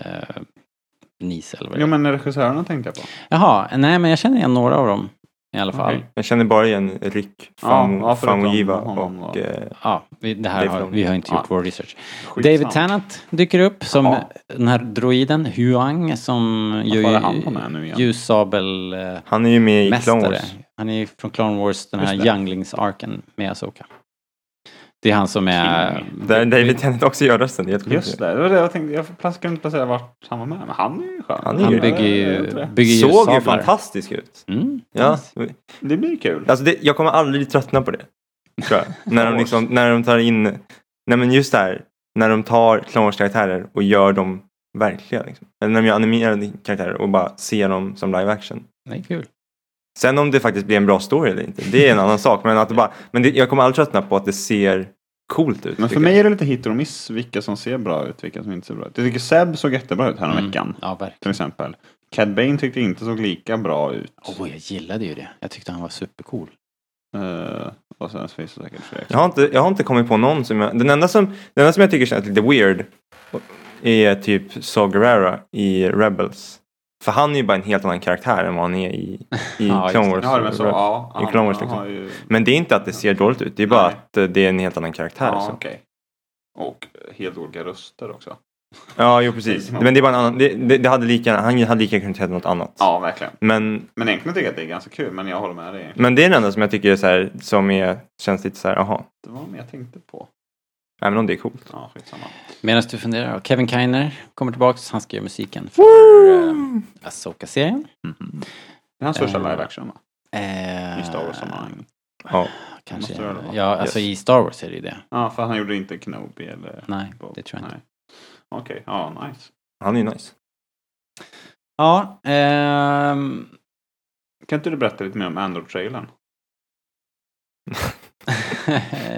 niece eller vad det
Jo
är.
men regissörerna tänkte jag på.
Jaha, nej men jag känner igen några av dem i alla fall.
Okej.
jag känner bara igen Rick
Ja,
Famu-
ja, förutom
Famuyiwa
honom
och
då.
eh,
Ja, vi, det här
Dave
har,
Filoni.
vi har inte gjort
Ja.
vår research.
Skitsamma.
David Tennant dyker upp som
Ja.
den här droiden Huang som
Varför är han på
ju
med nu igen?
ljussabelmästare.
han är ju med i Clone Wars.
Han är ju från Clone Wars, den här
Just det.
Younglings-arken med Asoka. Det är han som är...
Där David Tennant också gör rösten. Det är helt
Just
sjukt.
det, det var det jag tänkte. Jag plas- kunde inte placera vart han var med. Men han är ju skön.
Han är
Han
ju-
bygger
Jag
ju,
vet inte.
bygger
Såg ju
ljussablar.
fantastisk ut.
Mm.
Ja.
Det blir kul.
Alltså det, jag kommer aldrig tröttna på det. Tror jag. när, de
Wars.
liksom, när de tar in, nej men just det här, när de tar Clone Wars karaktärer och gör dem verkliga. Liksom. Eller när de gör animerade karaktärer och bara ser dem som live action.
Det är kul.
Sen om det faktiskt blir en bra story eller inte, det är en annan sak. Men, att det bara, men det, jag kommer aldrig tröttna på att det ser coolt ut.
Men för
tycker
mig är det lite hit och miss vilka som ser bra ut, vilka som inte ser bra ut. Jag tycker Seb såg jättebra ut
Mm.
häromveckan.
Ja, verkligen.
Till exempel. Cad Bane tyckte inte såg lika bra ut.
Åh, jag gillade ju det. Jag tyckte han var supercool.
Eh, och sen finns det säkert fler.
Jag har, inte, jag har inte kommit på någon som jag... Den enda som, den enda som jag tycker känns lite weird är typ Saw Gerrera i Rebels. För han är ju bara en helt annan karaktär än vad han är i, i
Ja, just
Clone
det.
Wars.
Ja, det var så, ja,
i Clone Wars,
han har
liksom.
ju-
Men det är inte att det ser dåligt ut, det är bara
Nej.
att eh, det är en helt annan karaktär.
Ja,
så.
okej. Och eh, helt olika röster också.
ja jo precis.
Ja.
Men det är bara en annan, det, det, det hade lika, gärna- han hade lika gärna kunnat heta något annat.
Ja, verkligen.
Men,
Men egentligen tycker jag att det är ganska kul, men jag håller med dig.
men det är den enda som jag tycker är så här, som är, känns lite så här, jaha.
Det var vad jag tänkte på.
Även om det är coolt.
Ja, skitsamma.
Medan du funderar, Kevin Kiner kommer tillbaks, han skrev musiken för uh, Asoka-serien.
Mm-hmm. Det är hans första
Eh,
live action va?
Eh,
I Star Wars-sammanhang.
Ja.
Kanske.
Måste det vara.
Ja, alltså i Star Wars är det ju det.
Ja, för han gjorde inte Kenobi eller...
Nej,
Bob.
det tror jag inte.
Nej. Okej, ja nice.
Han är ju nice.
Ja, ehm,
Kan inte du berätta lite mer om Andor-trailern?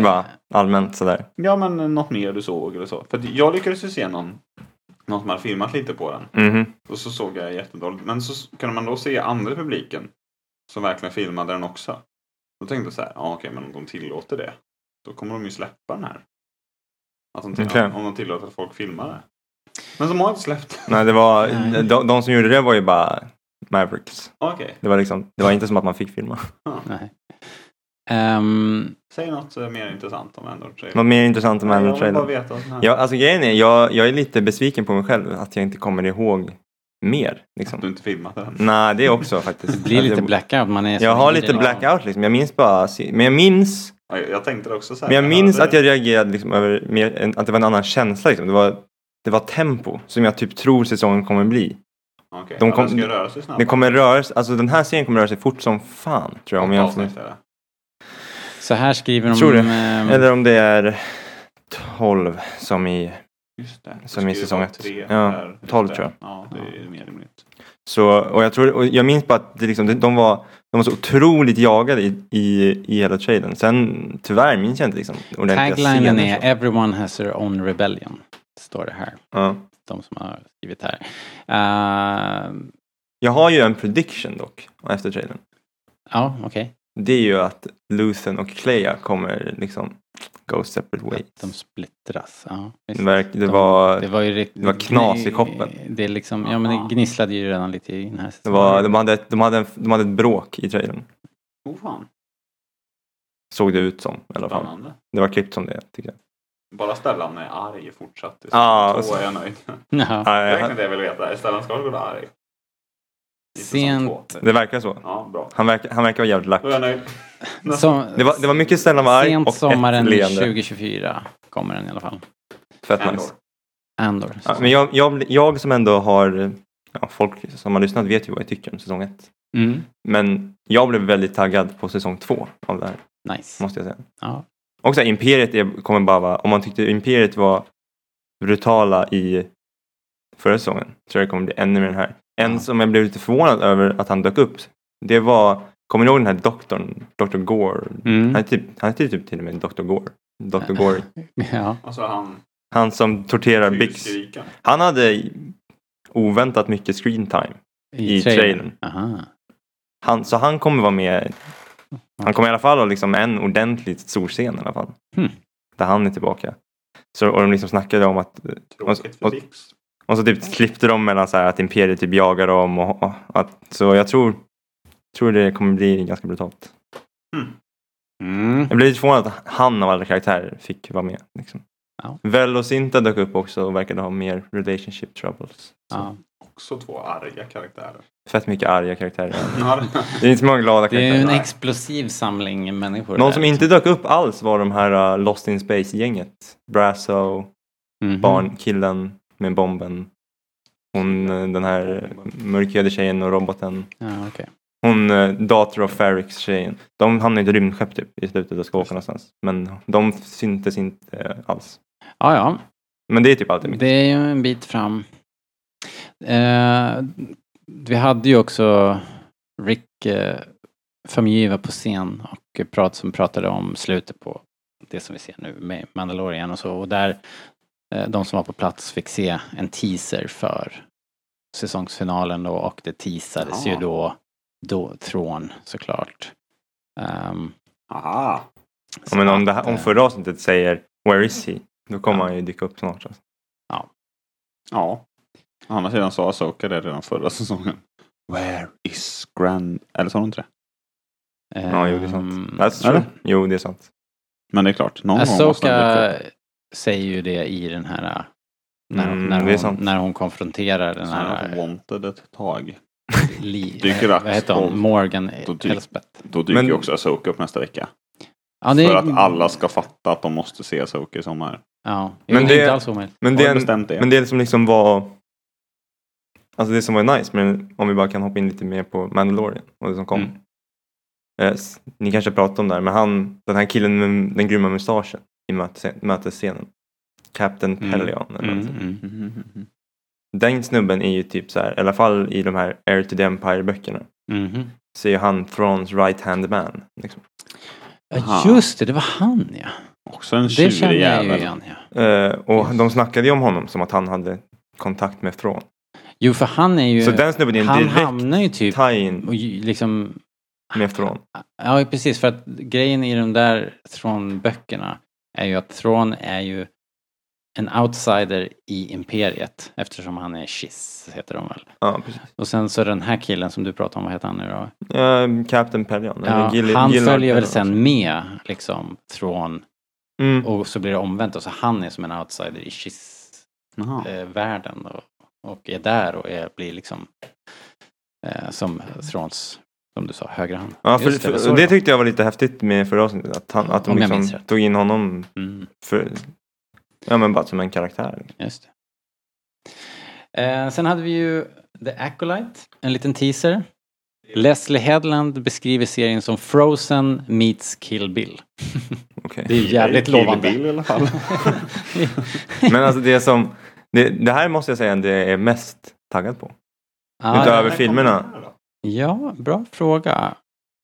Bara allmänt sådär.
Ja, men eh, något mer du såg eller så. För att jag lyckades ju se någon, någon som hade filmat lite på den.
Mhm.
Och så såg jag jättedåligt. Men så s- kunde man då se andra i publiken som verkligen filmade den också. Då tänkte jag så här, ja okej, men om de tillåter det, då kommer de ju släppa den här. Att de till-
Okej.
Om de tillåter att folk filmar det. Men som har inte släppt.
Nej, det var,
Nej.
de, de som gjorde det var ju bara Mavericks.
Okej,
Det var, liksom, det var inte som att man fick filma.
nej. Ehm,
säg något eh, mer intressant om Andor-trailern.
Något mer intressant om
Jag vill bara
Andor-trailern?
veta. vad som händer.
Ja, alltså grejen är, jag, jag är lite besviken på mig själv att jag inte kommer ihåg mer.
Att du
Liksom.
inte filmat den.
Nej, det också faktiskt.
det blir
Att
lite
jag,
blackout. Man är så
jag har
tidig.
lite blackout liksom. Jag minns bara, se- men jag minns,
Ja, Jag tänkte det också så här.
men jag minns
hörde-
att jag reagerade liksom över mer, en- att det var en annan känsla. Liksom. Det, var, det var tempo som jag typ tror säsongen kommer bli.
Okej,
de
ja,
kom-
den ska ju röra sig snabbt.
Det kommer röra sig, alltså den här serien kommer röra sig fort som fan tror jag. Om jag
Avsnitt är det.
Så här skriver de...
Tror det.
ehm,
Eller om det är 12 som i...
Just det.
Som
Det
i
ska ju
säsong
vara
ett.
tre
Ja,
per- just
tolv
det.
tror jag.
Ja, det är ju mer rimligt.
Så, och jag, tror, och jag minns bara att det liksom, det- de, var, de var så otroligt jagade i, i, i hela traden. Sen tyvärr minns jag inte liksom ordentliga
Taglinen
scener
är
så.
“Everyone has their own rebellion”. Står det här.
Ja.
De som har skrivit här. Ehm,
Jag har ju en prediction dock efter traden.
ja, okej.
Det är ju att Luthen och Clea kommer liksom go separate ways.
De splittras. Ja, visst.
Det, verk, det,
De-
var,
Det var ju rikt-
det var knas i koppen.
Det, är liksom, ja, men det gnisslade ju redan lite i den här
det
säsongen.
var, de, hade ett, de, hade en, de hade ett bråk i traden.
Oh fan,
Såg det ut som i alla fall.
spännande.
Det var klippt som det tycker jag.
Bara Stellan är arg fortsatt. i
Ja,
säsong
alltså.
två är jag nöjd.
Ja.
Det
Nej,
är verkligen det jag vill veta. Är Stellan Skarsgård arg? I säsong
Sent.
två?
Det verkar så.
Ja, bra.
Han verkar, han verkar vara jävligt lack.
Då är jag nöjd.
Som,
Det var, det var mycket sällan var arg
Sent
och
sommaren
ett leende.
2024 kommer den i alla fall.
Fett
Andor.
nice.
Andor.
Ja, men jag, jag, jag som ändå har, ja, folk som har lyssnat vet ju vad jag tycker om säsong ett.
mm,
Men jag blev väldigt taggad på säsong två av det här,
nice.
måste jag säga.
Ja.
Och så här, Imperiet är, kommer bara vara, om man tyckte Imperiet var brutala i förra säsongen, tror jag det kommer bli ännu mer den här. En
Ja.
som jag blev lite förvånad över att han dök upp, det var, kommer ni ihåg den här doktorn, Dr. Gore? Han
Mm.
heter typ, han heter typ till och med Dr. Gore. Dr. Gore.
Ja.
Alltså han
Han som torterar
Typ
Bix.
fyrskrikan.
Han hade oväntat mycket screen time. I trailern.
Aha.
Han, så han kommer vara med. Han kommer i alla fall ha liksom en ordentligt stor scen i alla fall.
Hmm.
Där han är tillbaka. Så, och de liksom snackade om att,
Tråkigt för
och-
Bix.
och så typ klippte de mellan så här att Imperiet typ jagar dem och, och att, så jag tror, tror det kommer bli ganska brutalt.
Mm.
Jag blev lite förvånad att han av alla karaktärer fick vara med. Liksom.
Ja.
Väl och Sinta dök upp också och verkade ha mer relationship troubles. Så.
Ja.
Också två arga karaktärer.
Fett mycket arga karaktärer.
Ja,
Det är inte så många glada
Det är ju
karaktärer.
en explosiv samling människor.
Någon
där,
som
liksom.
inte dök upp alls var de här uh, Lost in Space-gänget. Brasso,
Mhm.
barn, killen med bomben. Hon, eh, den här eh, mörkhyade tjejen och roboten.
Ja, okej.
Hon, eh, Daughter of Ferrix tjejen. De hamnade i ett rymdskepp typ i slutet och ska åka någonstans. Men de syntes inte eh, alls.
ja, ja.
Men det är typ allt jag minns.
Det är ju en bit fram. Eh, vi hade ju också Rick eh, Famuyiwa på scen och prat, som pratade om slutet på det som vi ser nu med Mandalorian och så. Och där eh, de som var på plats fick se en teaser för säsongsfinalen då, och det teasades
Ja.
ju då, då Tron såklart. Ehm,
Aha.
Ja, men om, det
att,
här, om
eh,
förra avsnittet säger “Where is he?” då kommer han ju dyka upp snart. Alltså.
Mm.
Ja. Å andra sidan sa Asoka det redan förra säsongen. Where is Grand... Eller sa hon inte det?
Ja, jo det är sant.
eh, ehm,
That's true. Jo, det är sant.
Men det är klart, någon gång måste han dyka upp.
Asoka säger ju det i den här, äh, när,
Mm,
när,
det är
hon,
sant.
när hon konfronterar den
Sen har
här, äh,
hon wanted ett tag.
li, äh,
dyker
vad
upp.
heter hon, Morgan
Då dyker-
Elspeth.
Då dyker
Men-
ju också Asoka upp nästa vecka.
Ja, det-
För att alla ska fatta att de måste se Asoka i sommar.
Ja,
Men
men det är
det-
inte alls omöjligt.
Men
Har
det,
du
är en,
bestämt det?
men det som liksom var... Alltså det som var nice, men om vi bara kan hoppa in lite mer på Mandalorian och det som kom.
Mm.
Yes, ni kanske pratar om det här, men han, den här killen med den grymma mustaschen i mötesscen- mötesscenen. Captain
Mm.
Pelion. Eller
Mm,
något
mm,
sånt.
mm, mm, mm.
Den snubben är ju typ så här, i alla fall i de här Air to the Empire-böckerna,
Mhm.
så är ju han Thrawns right-hand man. Liksom.
Ja,
Aha.
just det, det var han ja.
Också en
Det känner
tjurig
jag ju
jävel.
igen. Ja.
Eh, och
Just.
de snackade ju om honom som att han hade kontakt med Thrawn.
Jo, för han är ju...
Så den snubben är en
han
direkt
hamnar ju typ
tie-in
och ju- liksom...
med Thrawn.
Ja, precis. För att grejen i de där Thrawn-böckerna är ju att Thrawn är ju en outsider i imperiet eftersom han är Shiss, heter de väl.
Ja, precis.
Och sen så den här killen som du pratar om, vad heter han nu då?
Eh, Captain Pelion.
Ja,
eller Gill-
han
Gillard
följer väl
Pelion.
sen med liksom Thrawn
Mm.
och så blir det omvänt och så han är som en outsider i Shiss-världen
Jaha.
och, och är där och är, blir liksom eh, som Throns, som du sa, högra hand.
Ja, för,
Just
för,
var
det,
så var.
tyckte jag var lite häftigt med förra avsnittet. Att, han, att de
Om jag minns
liksom
rätt.
tog in honom
Mm.
för, ja, men bara som en karaktär.
Just det. Eh, sen hade vi ju The Acolyte, en liten teaser. Leslie Headland beskriver serien som Frozen meets Kill Bill.
Okej.
Det är jävligt
Kill
lovande.
Bill i alla fall.
Men alltså det som, det, det här måste jag säga att det är mest taggad på.
Ja,
Utöver
När
filmerna.
kommer den här då?
ja, bra fråga.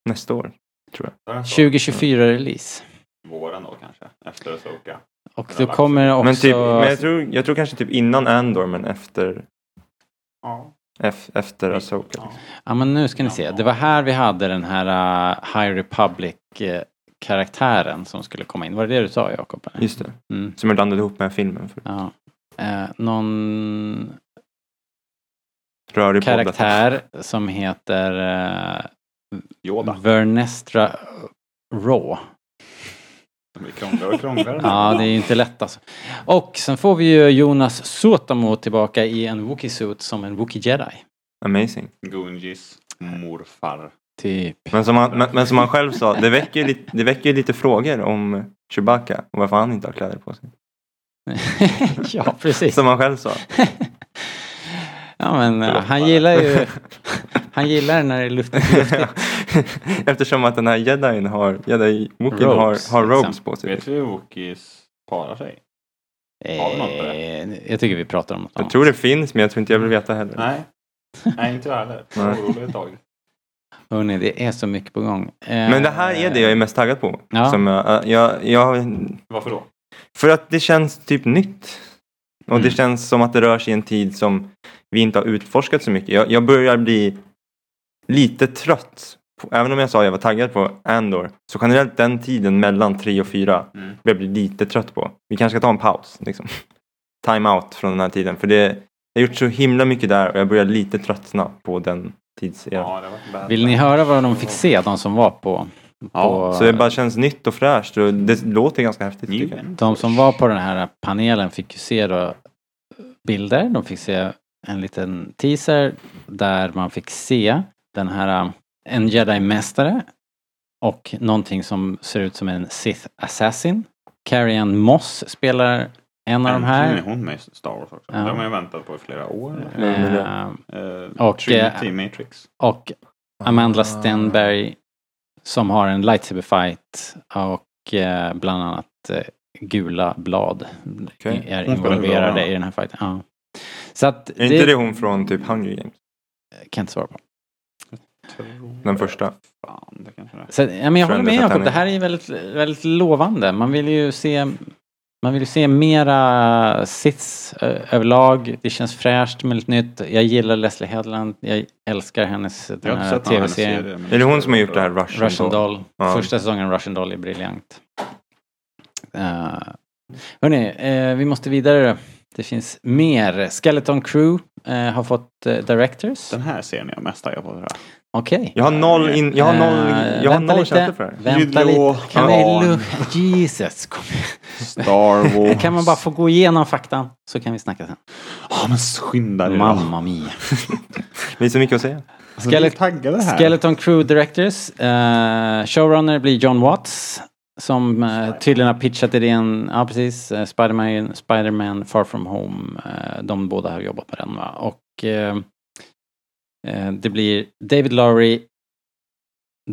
Nästa år.
Där sa
2024-release.
Våren då kanske, efter Asoka.
Och då kommer också...
Men, typ, men jag, tror, jag tror kanske typ innan Andor men efter,
Ja.
eff- efter Asoka.
Ja.
Ja, men nu ska ni se. Det var här vi hade den här eh, High Republic-karaktären som skulle komma in. Var det det du sa, Jakob? eller?
Just det.
Mm.
Som jag blandade ihop med filmen. För
Ja. Eh, någon
rörig podd.
karaktär som heter
Yoda.
eh, Vernestra Raw.
De blir krångligare och krångligare.
Ja, det är ju inte lätt alltså. Och sen får vi ju Jonas Suotamo tillbaka i en Wookiee suit som en Wookiee Jedi.
Amazing.
Gungis morfar.
Typ.
Men som, han, men, men som han själv sa, det väcker, ju lite, det väcker ju lite frågor om Chewbacca och varför han inte har kläder på sig.
ja, precis.
Som han själv sa.
Ja, men eh,
Förlåt,
han
bara.
gillar ju... Han gillar när det är luft, luftigt.
Eftersom att den här jedin har, jedi Wookien
Robes,
har, har robes
liksom.
på sig.
Vet vi hur Wookies parar sig? Har de något på
Eh, jag tycker vi pratar om något
Jag
annat.
tror det finns men jag tror inte jag vill veta heller.
Nej. Nej, inte jag heller. Jag
Nej.
är orolig ett tag.
Hörrni, det är så mycket på gång. Eh,
Men det här är det jag är mest taggad på.
Ja.
Som jag, jag, jag,
Varför då?
för att det känns typ nytt. Och det
Mm.
känns som att det rör sig i en tid som vi inte har utforskat så mycket. Jag, jag börjar bli lite trött. På, även om jag sa att jag var taggad på Andor. Så generellt den tiden mellan tre och fyra
Mm.
börjar bli lite trött på. Vi kanske ska ta en paus. Liksom. Time out från den här tiden. För det, jag har gjort så himla mycket där och jag börjar lite tröttna på den tidseran.
Ja, det var bad.
Vill ni höra vad de fick se, de som var på... på
Så det bara känns nytt och fräscht och det låter ganska häftigt. tycker jag.
Newman.
De som var på den här panelen fick ju se då bilder, de fick se en liten teaser där man fick se den här, eh, en jedi-mästare och någonting som ser ut som en Sith Assassin. Carrie Ann Moss spelar en av de
Äntligen
här.
är hon med i Star Wars också.
Ja.
Det har man ju väntat på i flera år.
Nej, men det-
Eh,
Eh,
Och,
Trinity Matrix.
Och Amanda Stenberg som har en lightsaber fight och eh, bland annat eh, gula blad
Okej.
är
Hon spelar
involverade
huvudrollen.
i den här fighten. Ja. Så att
Är inte det hon från typ Hunger Games?
kan jag inte svara på.
Den första.
Fan, det kanske det är.
Så, ja, men jag håller
Kändes
med
att han
Jakob,
är-
det här är ju väldigt, väldigt lovande. Man vill ju se man vill ju se mera sits eh, överlag. Det känns fräscht med lite nytt. Jag gillar Leslie Headland. Jag älskar hennes den
Jag har inte
här
sett någon annan serie,
Eh, tv-serien.
men
Är det hon som har gjort det här Russian,
Russian
Doll?
Doll.
Ja.
Första säsongen Russian Doll är briljant. Uh, hörni, eh, vi måste vidare. Det finns mer. Skeleton Crew eh, har fått eh, directors.
Den här serien är jag mest taggad på tror jag.
Okej.
Jag har noll, in, jag har noll,
Eh,
jag har
vänta
noll
lite,
känsla för det här.
Vänta
Ljud
lite.
och
Kan vi
barn.
lugna... Jesus, kom igen.
Star Wars.
Kan man bara få gå igenom faktan så kan vi snacka sen.
Ja men skynda dig då.
Mamma mia.
Det är så mycket att säga.
Alltså, vi är taggade här.
Skeleton Crew Directors. Eh, showrunner blir John Watts. Som eh, tydligen har pitchat idén, ja precis, eh, Spider-Man, Spider-Man Far From Home. Eh, de båda har jobbat med den va. Och eh, eh, det blir David Lowry,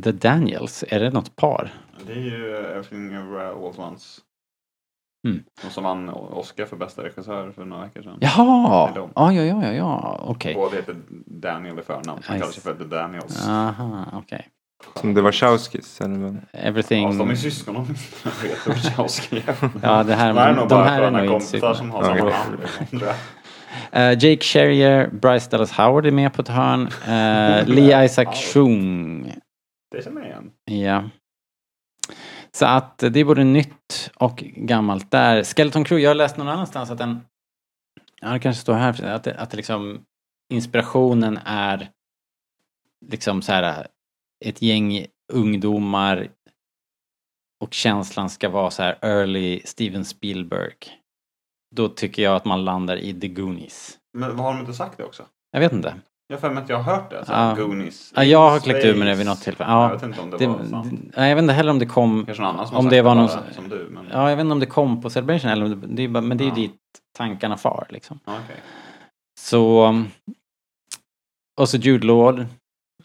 The Daniels. Är det något par?
Det är ju Everything Everywhere All At Once.
Mm.
Och som vann Oscar för bästa regissör för några veckor sedan.
Jaha!
Det är de.
Ja, ja, ja, ja, ja. okej.
Båda heter Daniel i förnamn. Han
Nice.
kallar sig för The Daniels.
Aha, okej.
Som det var Chauskis eller vad?
Everything...
Alltså, de är syskon om jag vet hur Wachowski är.
Ja, det här,
De här är nog
de
bara
här är
sköna
nog inte
kompisar
syskon.
som har
Ja,
samma
okej.
namn. tror jag.
Eh, Jake Sherrier, Bryce Dallas Howard är med på ett hörn. Eh, Lee Isaac Chung.
Det känner jag igen.
Ja. Så att eh, det är både nytt och gammalt där. Skeleton Crew, jag har läst någon annanstans att den... Ja, det kanske står här. Att, det- att det liksom inspirationen är liksom så här eh, ett gäng ungdomar och känslan ska vara så här early Steven Spielberg. Då tycker jag att man landar i The Goonies.
Men vad har de inte sagt det också?
Jag vet inte.
Jag har för mig att jag har hört det. Så
Ja.
Goonies.
Ja, jag har
Space.
kläckt ur mig det vid något tillfälle.
Jag
Ja,
vet inte om det,
det,
var sant.
nej, jag vet inte heller om det kom...
Kanske någon annan som
om
har
det
sagt
var
bara,
någon-
som du. Men...
Ja, jag vet inte om det kom på Celebration, eller, om det- det är bara, men det är ju
Ja.
dit tankarna far. Liksom.
Ja, okej.
Så... um, Och så Jude Law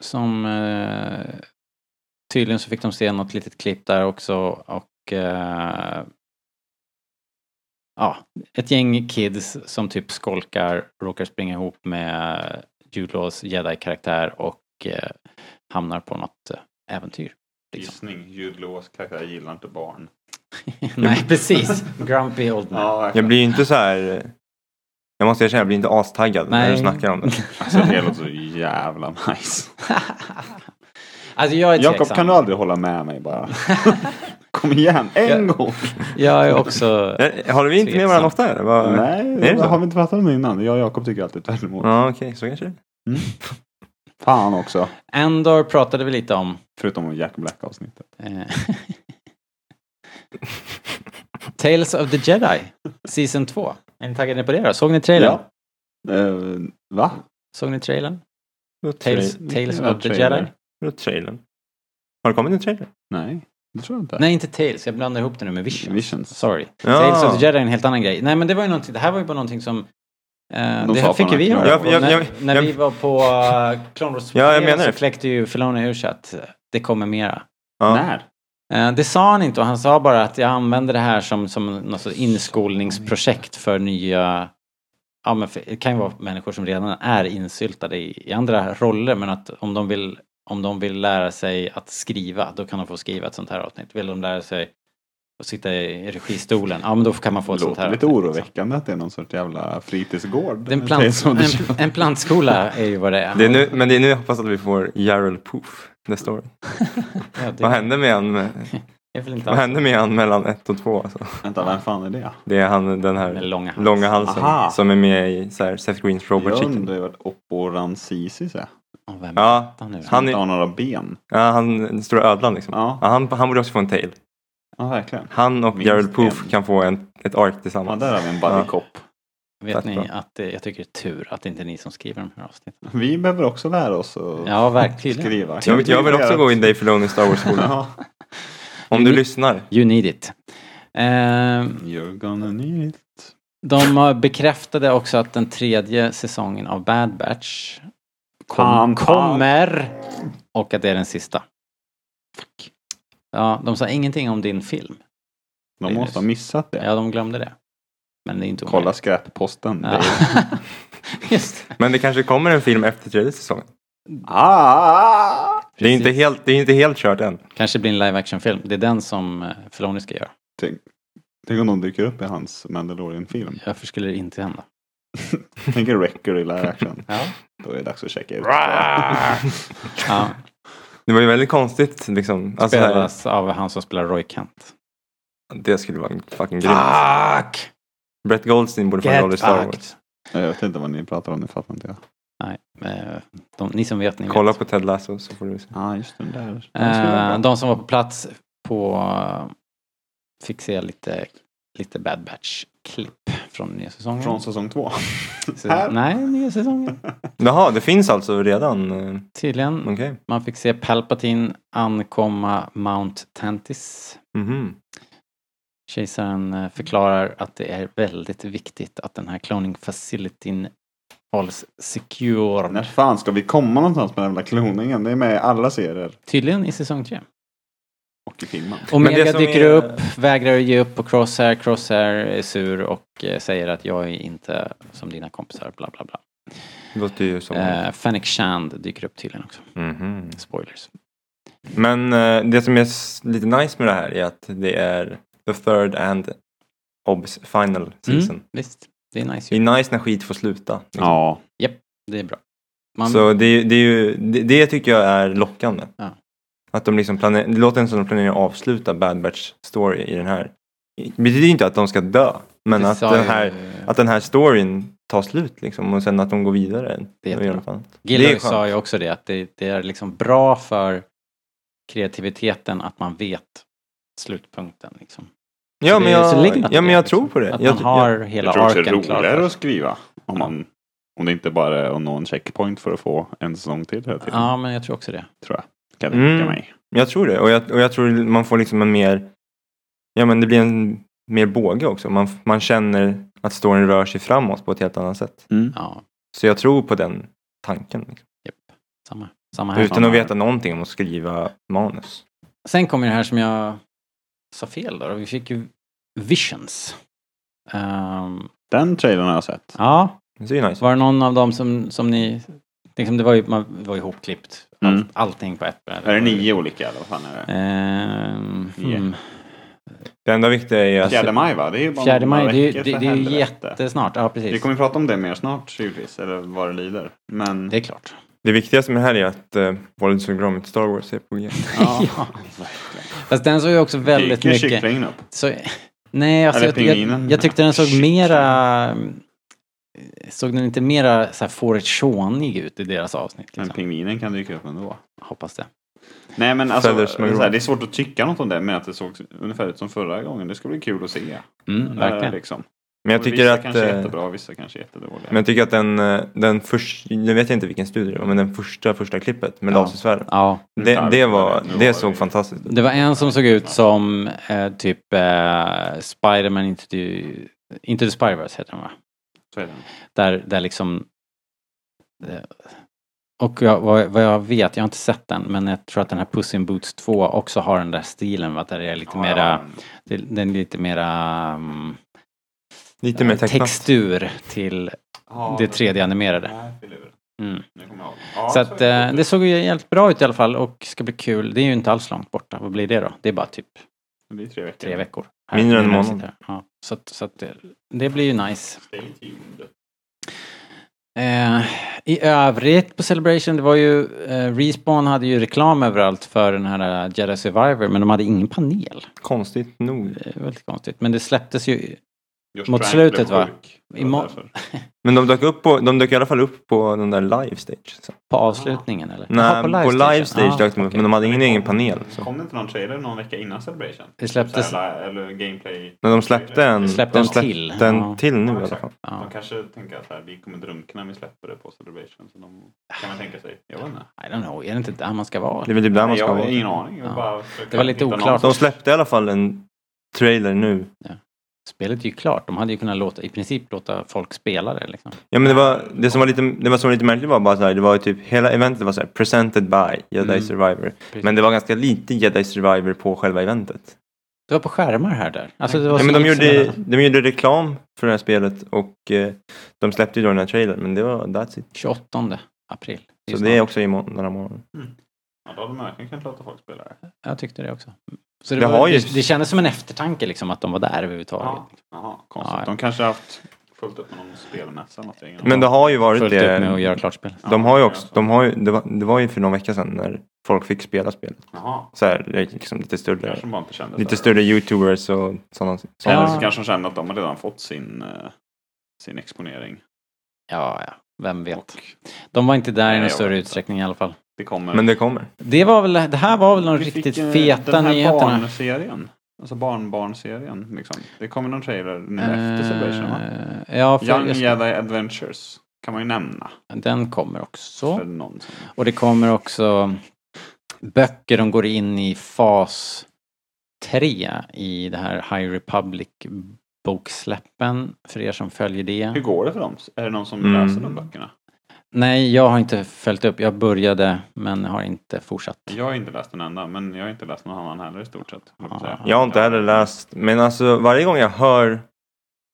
som... Eh, tydligen så fick de se något litet klipp där också och... Eh, ja, ett gäng kids som typ skolkar, råkar springa ihop med Jude Laws jedi-karaktär och eh, hamnar på något eh, äventyr. Liksom.
Gissning. Jude Laws karaktär gillar inte barn.
Nej, precis. Grumpy old man.
Ja,
Jag blir ju inte så här... eh, Jag måste erkänna, jag blir inte astaggad när
Nej.
du snackar om det.
Alltså det låter så jävla nice.
alltså jag är tveksam.
Jakob, kan du aldrig hålla med mig bara? Kom igen, en gång!
Jag är också...
Eh, Håller vi inte med
Tveksam.
varandra ofta eller? Vad-
Nej,
är
det
det så?
har vi inte pratat om innan. Jag och Jakob tycker alltid tvärtom.
Ja, okej, så kanske det är.
Fan också.
Endor pratade vi lite om.
Förutom Jack Black-avsnittet.
Eh, Tales of the Jedi, Season 2. Är ni taggade på det då? Såg ni trailern?
Ja. Eh, va?
Såg ni trailern?
Då
Tales,
tra-
Tales
jävla
of the
trailer.
Jedi?
då trailern. Har det kommit en trailer?
Nej, det tror jag inte.
Nej, inte Tales. Jag blandar ihop det nu med Visions.
Visions.
Sorry.
Ja.
Tales of the Jedi är en helt annan grej. Nej, men det var ju någonting. Det här var ju bara någonting som... Eh,
De
det
sa
här fick
på
ju vi
den här
höra.
Jag- jag-
när,
jag-
när
jag-
vi var på eh, Clone Wars
Ja, jag
Player
menar
så
det.
kläckte ju Filoni ur sig att eh, det kommer mera.
Ja.
När?
Eh, Det sa han inte och han sa bara att jag använder det här som, som något sorts inskolningsprojekt för nya... Ja, men för, det kan ju vara människor som redan är insyltade i, i andra roller men att om de, vill, om de vill lära sig att skriva då kan de få skriva ett sånt här avsnitt. Vill de lära sig att sitta i registolen, ja men då kan man få ett sånt här
låter lite
avsnitt. liksom.
oroväckande att det är någon sorts jävla fritidsgård.
Det är En,
Det är
plant,
som det
en, en plantskola är ju vad det är.
Det är nu, men det är nu jag hoppas att vi får Jarl Poof nästa år.
ja,
Vad
det
hände med han, eh,
är väl inte
vad
alls
hände med han mellan ett och två? Alltså?
Vänta, vem fan är det?
Det är han den här
med långa hals.
långa halsen
Aha.
som är med i så här, Seth Greens Robot
Jag
Chicken.
undrar ju vart Oppo Ramsisis är.
Och vem
Ja,
är han nu?
Han
Han
är-
inte har några ben.
ja, han den stora ödlan liksom.
Ja,
Ja, han, han borde också få en tail.
ja verkligen.
Han och
Minst
Gerald Poof
en.
kan få en, ett ark
Ja,
tillsammans.
där har vi en buddy
Ja.
cop.
Vet
Tack
ni
bra.
att det, jag tycker det är tur att det inte är ni som skriver de här avsnitten.
Vi behöver också lära oss att
Ja, verkligen.
skriva.
jag, jag vill också gå i Dave Filoni Star Wars-skolan.
Ja.
Om du
Mm.
lyssnar.
You need it. Eh,
You're gonna need it.
de har bekräftade också att den tredje säsongen av Bad Batch kom,
Fan, fan.
kommer och att det är den sista. Ja, de sa ingenting om din film.
De måste ha missat det.
Ja, de glömde det. Men det är inte
Kolla skräpposten.
Ja.
Det är-
Just det.
Men det kanske kommer en film efter tredje säsongen.
Ah!
Det är, inte helt, det är inte helt kört än.
Kanske blir en live action-film. Det är den som eh, Filoni ska göra.
Tänk om de dyker upp i hans Mandalorian-film.
Varför skulle det inte hända?
Tänk er Wrecker i live action.
Ja.
Då är det dags att checka ut.
ja
Det var ju väldigt konstigt liksom. Alltså, här,
spelas av han som spelar Roy Kent.
det skulle vara fucking grymt.
Fuck!
Brett Goldstein borde få en roll i Star Wars.
Jag vet inte vad ni pratar om, det fattar inte jag.
Nej, eh, de, ni som vet, ni
Kolla
vet.
på Ted Lasso så får du se.
Ja, ah, just den där. Den skulle vara
Eh,
bra.
de som var på eh, plats på fick se lite, lite Bad Batch-klipp från nya säsongen.
Från säsong två.
Så-
här?
Nej, nya säsongen.
Jaha, det finns alltså redan? eh,
Tydligen.
Mm.
Okej.
Man fick se Palpatine ankomma Mount Tantis.
Mhm.
Kejsaren eh, förklarar att det är väldigt viktigt att den här cloning facilityn hålls secure.
När fan ska vi komma någonstans med den där kloningen? Det är med i alla serier
Tydligen i säsong 3.
och i filmen.
Men det
Omega
som
dyker
är-
upp, vägrar ge upp på Crosshair. Crosshair är sur och eh, säger att jag är inte som dina kompisar, bla bla bla.
Låter ju som...
Eh, Fennec Shand dyker upp tydligen också.
Mhm.
Spoilers.
Men eh, det som är s- lite nice med det här är att det är the third and obs final season.
Mm, visst, det är nice
Det
ju.
är nice när skit får sluta. liksom.
Ja.
Det är bra. Man,
Så det, det, är ju, det, det tycker jag är lockande.
Ja.
Att de liksom planerar, det låter som de planerar att avsluta Bad Batch story i den här. Det betyder inte att de ska dö, men
det
att
sa
den,
ju-
här, att den här storyn tar slut liksom och sen att de går vidare.
Det är
och
jättebra.
gör något annat. Det
Gilloy
är skönt.
sa ju också det, att det, det är liksom bra för kreativiteten att man vet slutpunkten. Liksom.
Ja,
Så
men
det- så ligger
jag,
något i
ja, men jag
liksom.
tror på det.
Att
Jag,
man
jag,
har hela
Jag tror också det är
arken klar.
roligare
för
att
sig.
skriva. Om, man, om det inte bara är att nå en checkpoint för att få en säsong till hela tiden.
Ja, men jag tror också det.
Tror jag. Kan jag
Mm.
tänka mig.
jag tror det. Och jag, och jag tror man får liksom en mer... Ja, men det blir en mer båge också. Man, man känner att storyn rör sig framåt på ett helt annat sätt.
Ja,
Så jag tror på den tanken. Liksom.
samma, samma här.
Utan
man
att
har-
veta någonting om att skriva manus.
Sen kommer det här som jag sa fel då. då. Vi fick ju Visions. Ehm,
Den trailern har jag sett.
ja,
Det är ju nice.
Var det någon av dem som, som ni... Liksom det var ju, man var ju ihopklippt. Allt,
Mm.
Allting på ett bräde.
Är det nio olika eller vad fan är det?
Ehm,
Nio.
hmm.
Det enda viktiga är att...
Fjärde maj va? Det är ju bara
Fjärde
Mm. några
maj, det är ju,
veckor,
det,
för
det är ju
helvete.
jättesnart. Ja,
Vi
precis.
kommer ju prata om det mer snart givetvis, eller vad det lider. Men
Det är klart.
Det viktigaste med det här är att eh, våldsprogrammet Star Wars är på G.
ja,
Ja. Fast den såg ju också väldigt
Dyker
mycket...
kycklingen upp.
Så, nej, alltså,
Eller
jag, jag,
pingvinen.
jag tyckte den såg
Kyckling.
mera... Såg den inte mera så här fåritsjånig ut i deras avsnitt?
Men
Liksom.
pingvinen kan dyka upp ändå.
Hoppas det.
Nej men alltså,
Feathers
det är, så
Maroon.
här, det är svårt att tycka något om det, men att det såg ungefär ut som förra gången. Det ska bli kul att se.
Mm,
Eh,
verkligen.
Liksom.
Men jag tycker
vissa
att...
kanske är
Eh,
jättebra, vissa kanske är jättedåliga.
men jag tycker att den, eh, den första, nu vet jag inte vilken studio det var, men den första, första klippet med
Ja.
lasersvärden.
Ja.
Det, det, var,
Nu var
det
det-
såg fantastiskt ut.
Det var en som såg ut som eh, typ eh, Spider-Man Into the, Into the Spider-Verse heter den va?
Så är det.
Där, där liksom... Eh, och jag, vad, vad jag vet, jag har inte sett den, men jag tror att den här Puss in Boots 2 också har den där stilen va? Där det är lite
Ja,
mera...
ja.
Det, den är lite mera... mm,
Lite mer tecknat.
textur till
Ja,
det 3D-animerade.
Nej, filur.
Mm.
Nu kommer jag ihåg. Ja,
Så att
är det.
eh, det såg ju jävligt bra ut i alla fall och ska bli kul. Det är ju inte alls långt borta. Vad blir det då? Det är bara typ
Det blir tre veckor.
tre veckor.
Mindre än en
när vi
månad.
sitter här. Ja, så att, så att det, det blir ju nice.
Stay tuned.
Eh, I övrigt på Celebration, det var ju... Eh, Respawn hade ju reklam överallt för den här eh, Jedi Survivor, men de hade ingen panel.
Konstigt nog.
Det är väldigt konstigt. Men det släpptes ju...
Josh
Mot
Trank
slutet,
blev
va?
sjuk.
I må-
Därför.
Men de dök, upp på, de dök i alla fall upp på den där live stage. Så.
På avslutningen eller? Jaha,
Nej, på live stage,
Ah,
dök de upp,
okej.
men de hade ingen egen panel. liksom. Så.
Kom det inte någon trailer någon vecka innan Celebration?
Det släpptes...
Så här, eller gameplay.
Men de släppte en,
Släppte
de
en till.
en
Ja.
till nu
Ja,
i alla
exakt.
fall.
Ja.
De kanske tänker att så här, vi kommer drunkna om vi släpper det på Celebration. Så de, kan man tänka sig. Jag vet inte.
I don't know, är det inte där man ska vara?
Det är väl typ där man
Nej,
ska
jag
vara.
har ingen aning. Jag
Ja.
bara försöker
Det var lite
hitta
oklart.
någon-
De släppte i alla fall en trailer nu.
Spelet är ju klart, de hade ju kunnat låta, i princip låta folk spela det liksom.
Ja men det var, det som var lite, det var som var lite märkligt var bara så här, det var ju typ hela eventet var så här presented by Jedi
Mm.
Survivor. Men det var ganska lite Jedi Survivor på själva eventet.
Det var på skärmar här där. Alltså, det var
Ja,
så
men de,
mycket
gjorde,
som-
de gjorde reklam för det här spelet och eh, de släppte ju då den här trailern men det var that's it.
28 april. Det
Så
är ju
det är
snart.
också i må- den här månaden.
Ja, då hade de verkligen kunnat låta folk spela det.
Jag tyckte det också. Så det,
Det
var,
har ju-
det, det kändes som en eftertanke liksom att de var där överhuvudtaget.
Ja. Jaha, konstigt.
Ja, ja.
De kanske haft fullt upp med någon spelmässa eller någonting.
Men det har ju varit
Fullt
det.
upp med att göra klart spelet.
De har ju också, de har ju, det, var, det var ju för någon vecka sedan när folk fick spela spelet.
Jaha,
Så här, liksom lite
kanske
större,
de bara inte kände
lite
för
större youtubers och sådana.
det. Eller
Ja.
så kanske de kände att de har redan fått sin, eh, sin exponering.
Ja, ja. Vem vet. De var inte där i
Nej,
någon
jag
större
vet inte.
utsträckning i alla fall.
Det kommer.
Men det kommer.
Det, var väl, det här var väl de
Vi fick,
riktigt
eh,
feta
den här
nyheterna.
barnserien. Alltså barnbarnserien liksom. Det kommer någon trailer nu efter Celebration va?
Eh, ja, för
Young
jag-
Jedi Adventures kan man ju nämna.
den kommer också.
För någon. som-
Och det kommer också böcker, de går in i fas 3 i det här High Republic boksläppen, för er som följer det.
Hur går det för dem? Är det någon som
Mm.
läser de böckerna?
Nej, jag har inte följt upp. Jag började men har inte fortsatt.
Jag har inte läst en enda, men jag har inte läst någon annan heller i stort sett. höll på att säga.
Jag har inte heller läst, men alltså varje gång jag hör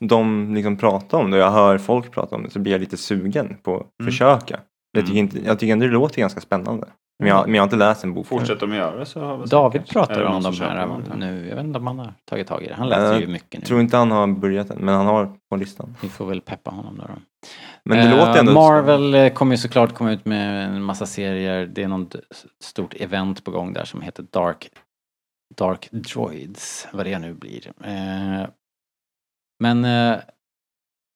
dem liksom prata om det och jag hör folk prata om det så blir jag lite sugen på att
Mm.
försöka. Jag tycker,
Mm.
inte, jag tycker ändå det låter ganska spännande. Men jag, men jag har inte läst en bok.
Fortsätter de göra det så har vi
David
säkert-
pratar
Eller
om de
någon som köper
här
någonting.
nu. Jag vet inte om han har tagit tag i det. Han läser
Jag
ju mycket nu.
Jag Eh, tror inte han har börjat än, men han har på listan.
Vi får väl peppa honom då. då.
Men det
Eh,
låter ändå...
Marvel eh, kommer ju såklart komma ut med en massa serier. Det är något stort event på gång där som heter Dark, Dark Droids, vad det nu blir. Eh, Men eh,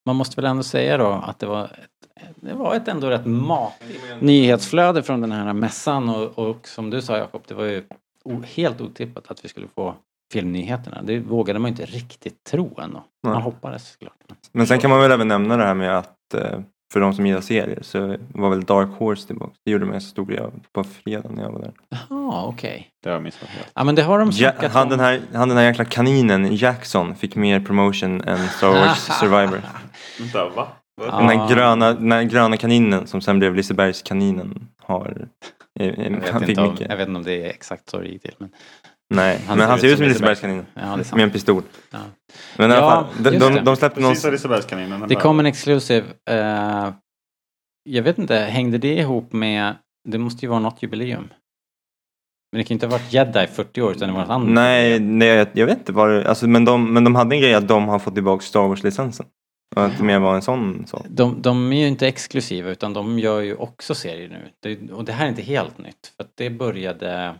man måste väl ändå säga då att det var ett, det var ett ändå rätt matigt nyhetsflöde från den här mässan och, och som du sa Jakob, det var ju o- helt otippat att vi skulle få filmnyheterna. Det vågade man ju inte riktigt tro ändå. Man
Nej.
hoppades såklart.
Men sen kan man väl även nämna det här med att eh, för de som gillar serier så var väl Dark Horse tillbaka. Det gjorde man en stor grej av på fredag när jag var där.
Jaha, okej.
Det har jag missat helt.
Ja men det har de
Ja,
snackat
han,
om.
den här, han den här jäkla kaninen Jackson fick mer promotion än Star Wars Survivor.
Vänta, va? Vad-
Ja.
Den här, gröna, den här gröna kaninen som sen blev Lisebergskaninen har... eh, eh,
Jag
Han
vet,
fick
inte om,
mycket.
jag vet inte om det är exakt så det gick till. Men,
Nej, men han ser ut som Lisebergskaninen.
ja, det, är sant.
Med en pistol.
Ja.
Men i
Ja,
alla fall, de,
just
de,
det.
de släppte någon...
Precis som Lisebergskaninen. den
det
där.
kom en exclusive. eh, jag vet inte, hängde det ihop med, det måste ju vara något jubileum. Men det kan ju inte ha varit jedi i 40 år utan det var något annat.
Nej, nej jag, jag vet inte vad det... Alltså, men, de, men de hade en grej att de har fått tillbaka Star Wars-licensen. Och att det mer var en sån sak.
De, de är ju inte exklusiva utan de gör ju också serier nu. Det, och det här är inte helt nytt. För att det började...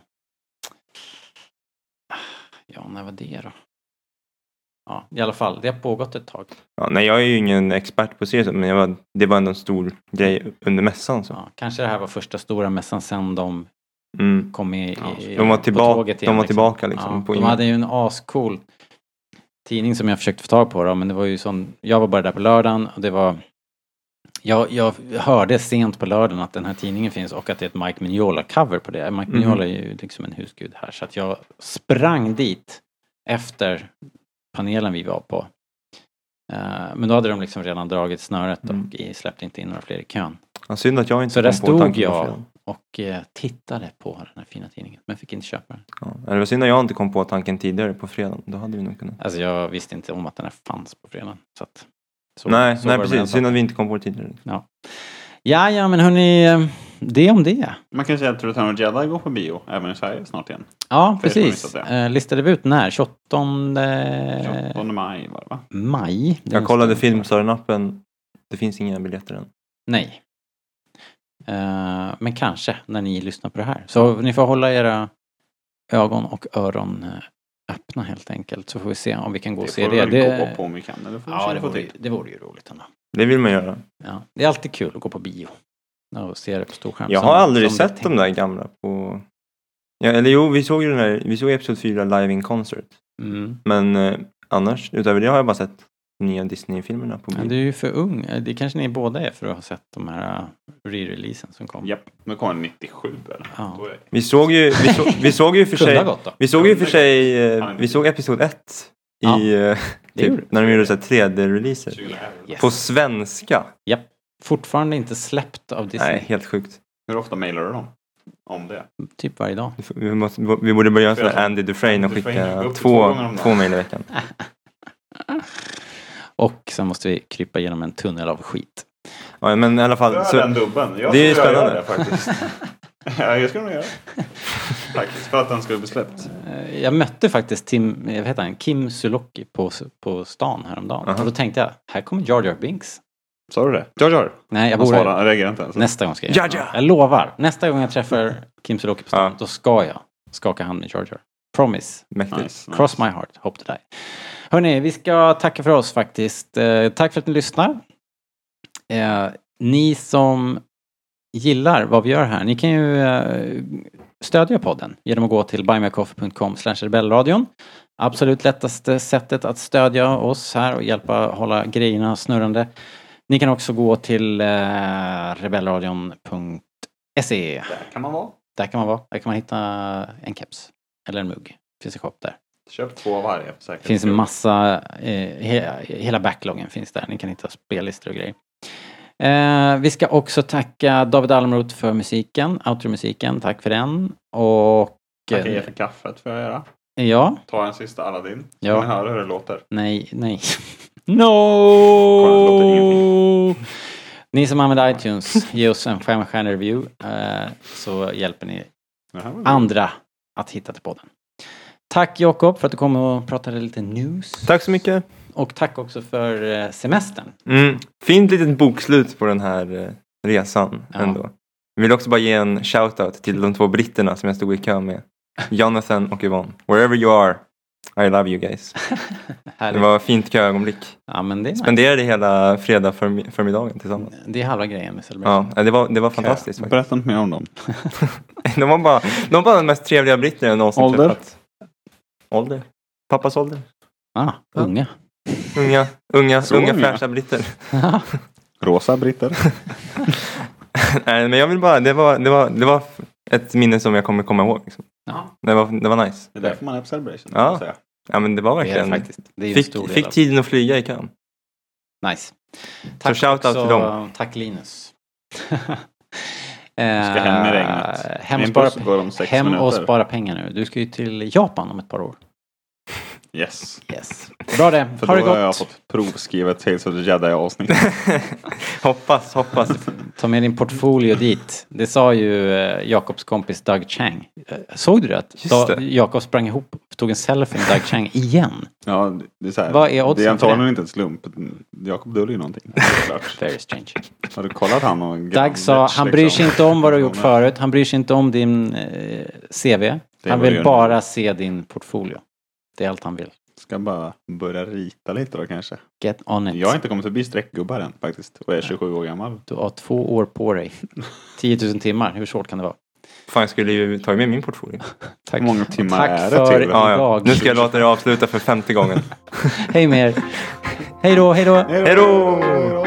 Ja, när var det då? Ja, i alla fall, det har pågått ett tag.
Ja, nej, jag är ju ingen expert på serier, men jag var, det var ändå en stor grej under mässan. Så.
Ja, kanske det här var första stora mässan sen de
Mm.
kom i, i-
Ja,
i
de var
på
tillbaka-
tåget
de
igen,
var tillbaka liksom
Ja,
på
de
innan.
hade ju en ascool tidning som jag försökte få tag på då, men det var ju sån, jag var bara där på lördagen och det var jag, jag hörde sent på lördagen att den här tidningen finns och att det är ett Mike Mignola-cover på det.
Mhm.
Mike Mignola är ju liksom en husgud här. Så att jag sprang dit efter panelen vi var på. Eh, Men då hade de liksom redan dragit snöret
Mm.
och släppte inte in några fler i kön.
Ja, synd att jag inte
Så där
kom på tanken
stod
på
jag
fredagen.
och eh, tittade på den här fina tidningen, men fick inte köpa den.
Ja, det var synd att jag inte kom på tanken tidigare på fredagen. Då hade vi nog kunnat.
Alltså jag visste inte om att den här fanns på fredagen. Så att, så,
nej,
så
nej
var det med den
precis.
saken.
Synd att vi inte kom på det tidigare.
Ja, ja, men hörni, eh, det om det.
Man kan säga att Return of the Jedi går på bio även i Sverige snart igen.
Ja,
För er som
precis.
missat
Eh, listade vi ut när? 28 eh,
28 maj var det va?
maj? Det är
Jag kollade
nästa-
Filmstören-appen. Det finns inga biljetter än.
Nej. Eh, men kanske när ni lyssnar på det här. Så ni får hålla era ögon och öron eh, öppna helt enkelt. Så får vi se om vi kan gå och
det
se
får
det.
vi väl gå på om vi kan. Eller får
ja, det
vi se på
vore, ju,
till.
det vore ju roligt ändå.
Det vill man göra.
Ja, det är alltid kul att gå på bio. Och se det på stor skärm.
Jag
som-
har aldrig
som
sett
det är
de där gamla på... Ja, eller jo, vi såg ju den där, vi såg Episod 4 live in concert.
tänkt. Mm.
Men eh, annars, utöver det har jag bara sett nya Disney-filmerna på bio.
Men du är ju för ung. Eh, Det kanske ni båda är för att ha sett de här eh, re-releasen som kom.
Japp, nu kommer den 97 eller?
Ja.
Då är det-
Vi såg ju, vi, så, vi såg ju för
Kunde ha
sig...
gått då.
Vi såg ju för sig, eh, vi såg Episod 1 i...
Ja,
eh,
det gjorde
typ, när de gjorde så här 3D-releaser.
2011.
Yes.
På svenska.
Fortfarande inte släppt av Disney.
Nej, helt sjukt.
Hur ofta mailar du dem? Om det?
Typ varje dag.
Vi, måste, vi borde börja göra sån här Andy Dufresne och
Dufresne, gå
skicka
upp till två
två,
gånger om dagen.
två mejl i veckan.
Och sen måste vi krypa genom en tunnel av skit.
Ja, men i alla fall,
Alltså, den
så,
dubben. Jag
det är ju
tror jag gör
spännande.
Det, faktiskt. ja, jag skulle nog göra det. Faktiskt, för att den skulle bli släppt.
Eh, Jag mötte faktiskt Tim, jag vet han, Kim Sulocki på, på stan häromdagen.
Aha.
Och då tänkte jag, här kommer Jar Jar Binks.
Sa du det? Jar Jar?
Nej, jag
Han
borde...
svarade, han reagerade inte ens.
Nästa gång ska jag
Ja, ja.
Jag lovar. Nästa gång jag träffar Kim Sulocki på stan,
Ja.
då ska jag skaka hand med Jar Jar. Promise.
mäktigt.
Nice, nice.
Mm. Cross my heart. Hope to die. Hörni, vi ska tacka för oss faktiskt. Eh, tack för att ni lyssnar. Eh, ni som gillar vad vi gör här, ni kan ju eh, stödja podden genom att gå till buymeacoffee.com rebellradion. absolut lättaste sättet att stödja oss här och hjälpa hålla grejerna snurrande. Ni kan också gå till eh, rebellradion.se.
Där kan man vara.
Där kan man vara. Där kan man hitta en keps eller en mugg. Finns en shop där.
Köp två av varje. för säkerhets
Det finns en
skull.
massa, eh, he, hela backloggen finns där. Ni kan hitta spellistor och grejer. Eh, vi ska också tacka David Almroth för musiken, outromusiken. Tack för den. Och... eh,
Tackar er för kaffet får jag göra.
ja,
Ta en sista Aladdin. Ja.
Ja.
Vill ni höra hur det låter?
nej, nej.
Kolla, det låter
No! Ni som använder iTunes, ge oss en femstjärnig review eh, så hjälper ni
Det här var bra.
andra att hitta till podden. Tack Jakob för att du kom och pratade lite news.
Tack så mycket.
Och tack också för eh, semestern.
Mm. Fint litet bokslut på den här eh, resan
Ja.
ändå. Jag vill också bara ge en shout-out till de två britterna som jag stod i kö med. Jonathan och Yvonne. Wherever you are, I love you guys. Det
Härligt.
var ett fint köögonblick.
Ja, men det är, nice.
Spenderade hela fredag förmi- förmiddagen tillsammans.
det är halva grejen med Celebration.
Ja, det var, det var fantastiskt faktiskt.
Berätta inte mer om dem.
De var bara de, var bara de mest trevliga britter jag någonsin
Ålder?
träffat. Ålder? Pappas ålder?
Ah, unga.
Unga, unga,
Så
unga
unga.
fräscha britter.
Rosa britter.
Nej, men jag vill bara, det var, det var, det var ett minne som jag kommer komma ihåg. Liksom.
Ja.
Det var, det var nice.
Det är därför man är på Celebration.
Ja.
kan jag säga.
Ja men det var
Det är
verkligen.
det faktiskt. Det är ju en stor
fick,
del
fick
av-
tiden att flyga i kön.
Nice. Tack
shout-out
också-
till dem.
Tack Linus.
Ska hem i regnet.
Eh, Hem och
Min
spara,
buss går om sex
hem och
minuter.
spara pengar nu. Du ska ju till Japan om ett par år.
Yes.
Yes. Bra det.
För
ha det
då har jag
gott.
fått provskrivet till så det jedi avsnitt.
hoppas, hoppas.
Ta med din portfolio dit. Det sa ju eh, Jakobs kompis Doug Chang. Eh, Såg du det? Att
Just
Da-
det.
Jakob sprang ihop, tog en selfie med Doug Chang igen.
Ja, det är så här.
Vad är oddsen för
det är
det?
antagligen inte en slump. Jakob döljer ju någonting. Det är klart.
Very strange.
Har du kollat han och
Doug sa, han bryr
liksom."
sig inte om vad du har gjort förut, han bryr sig inte om din eh, CV. Han
vad du
vill
gör
bara se din portfolio. Det är allt han vill.
Ska bara börja rita lite då kanske.
Get on it.
Jag har inte kommit förbi streckgubbar än faktiskt. Och är 27 år gammal.
Du har två år på dig. 10 000 timmar, hur svårt kan det vara?
Fan jag skulle ju tagit med min portfolio.
Tack.
Hur många timmar
Tack
är det
för
till?
Ja, ja.
idag.
Nu ska jag låta dig avsluta för femte gången.
Hej med er. Hej då, hej då.
Hej då!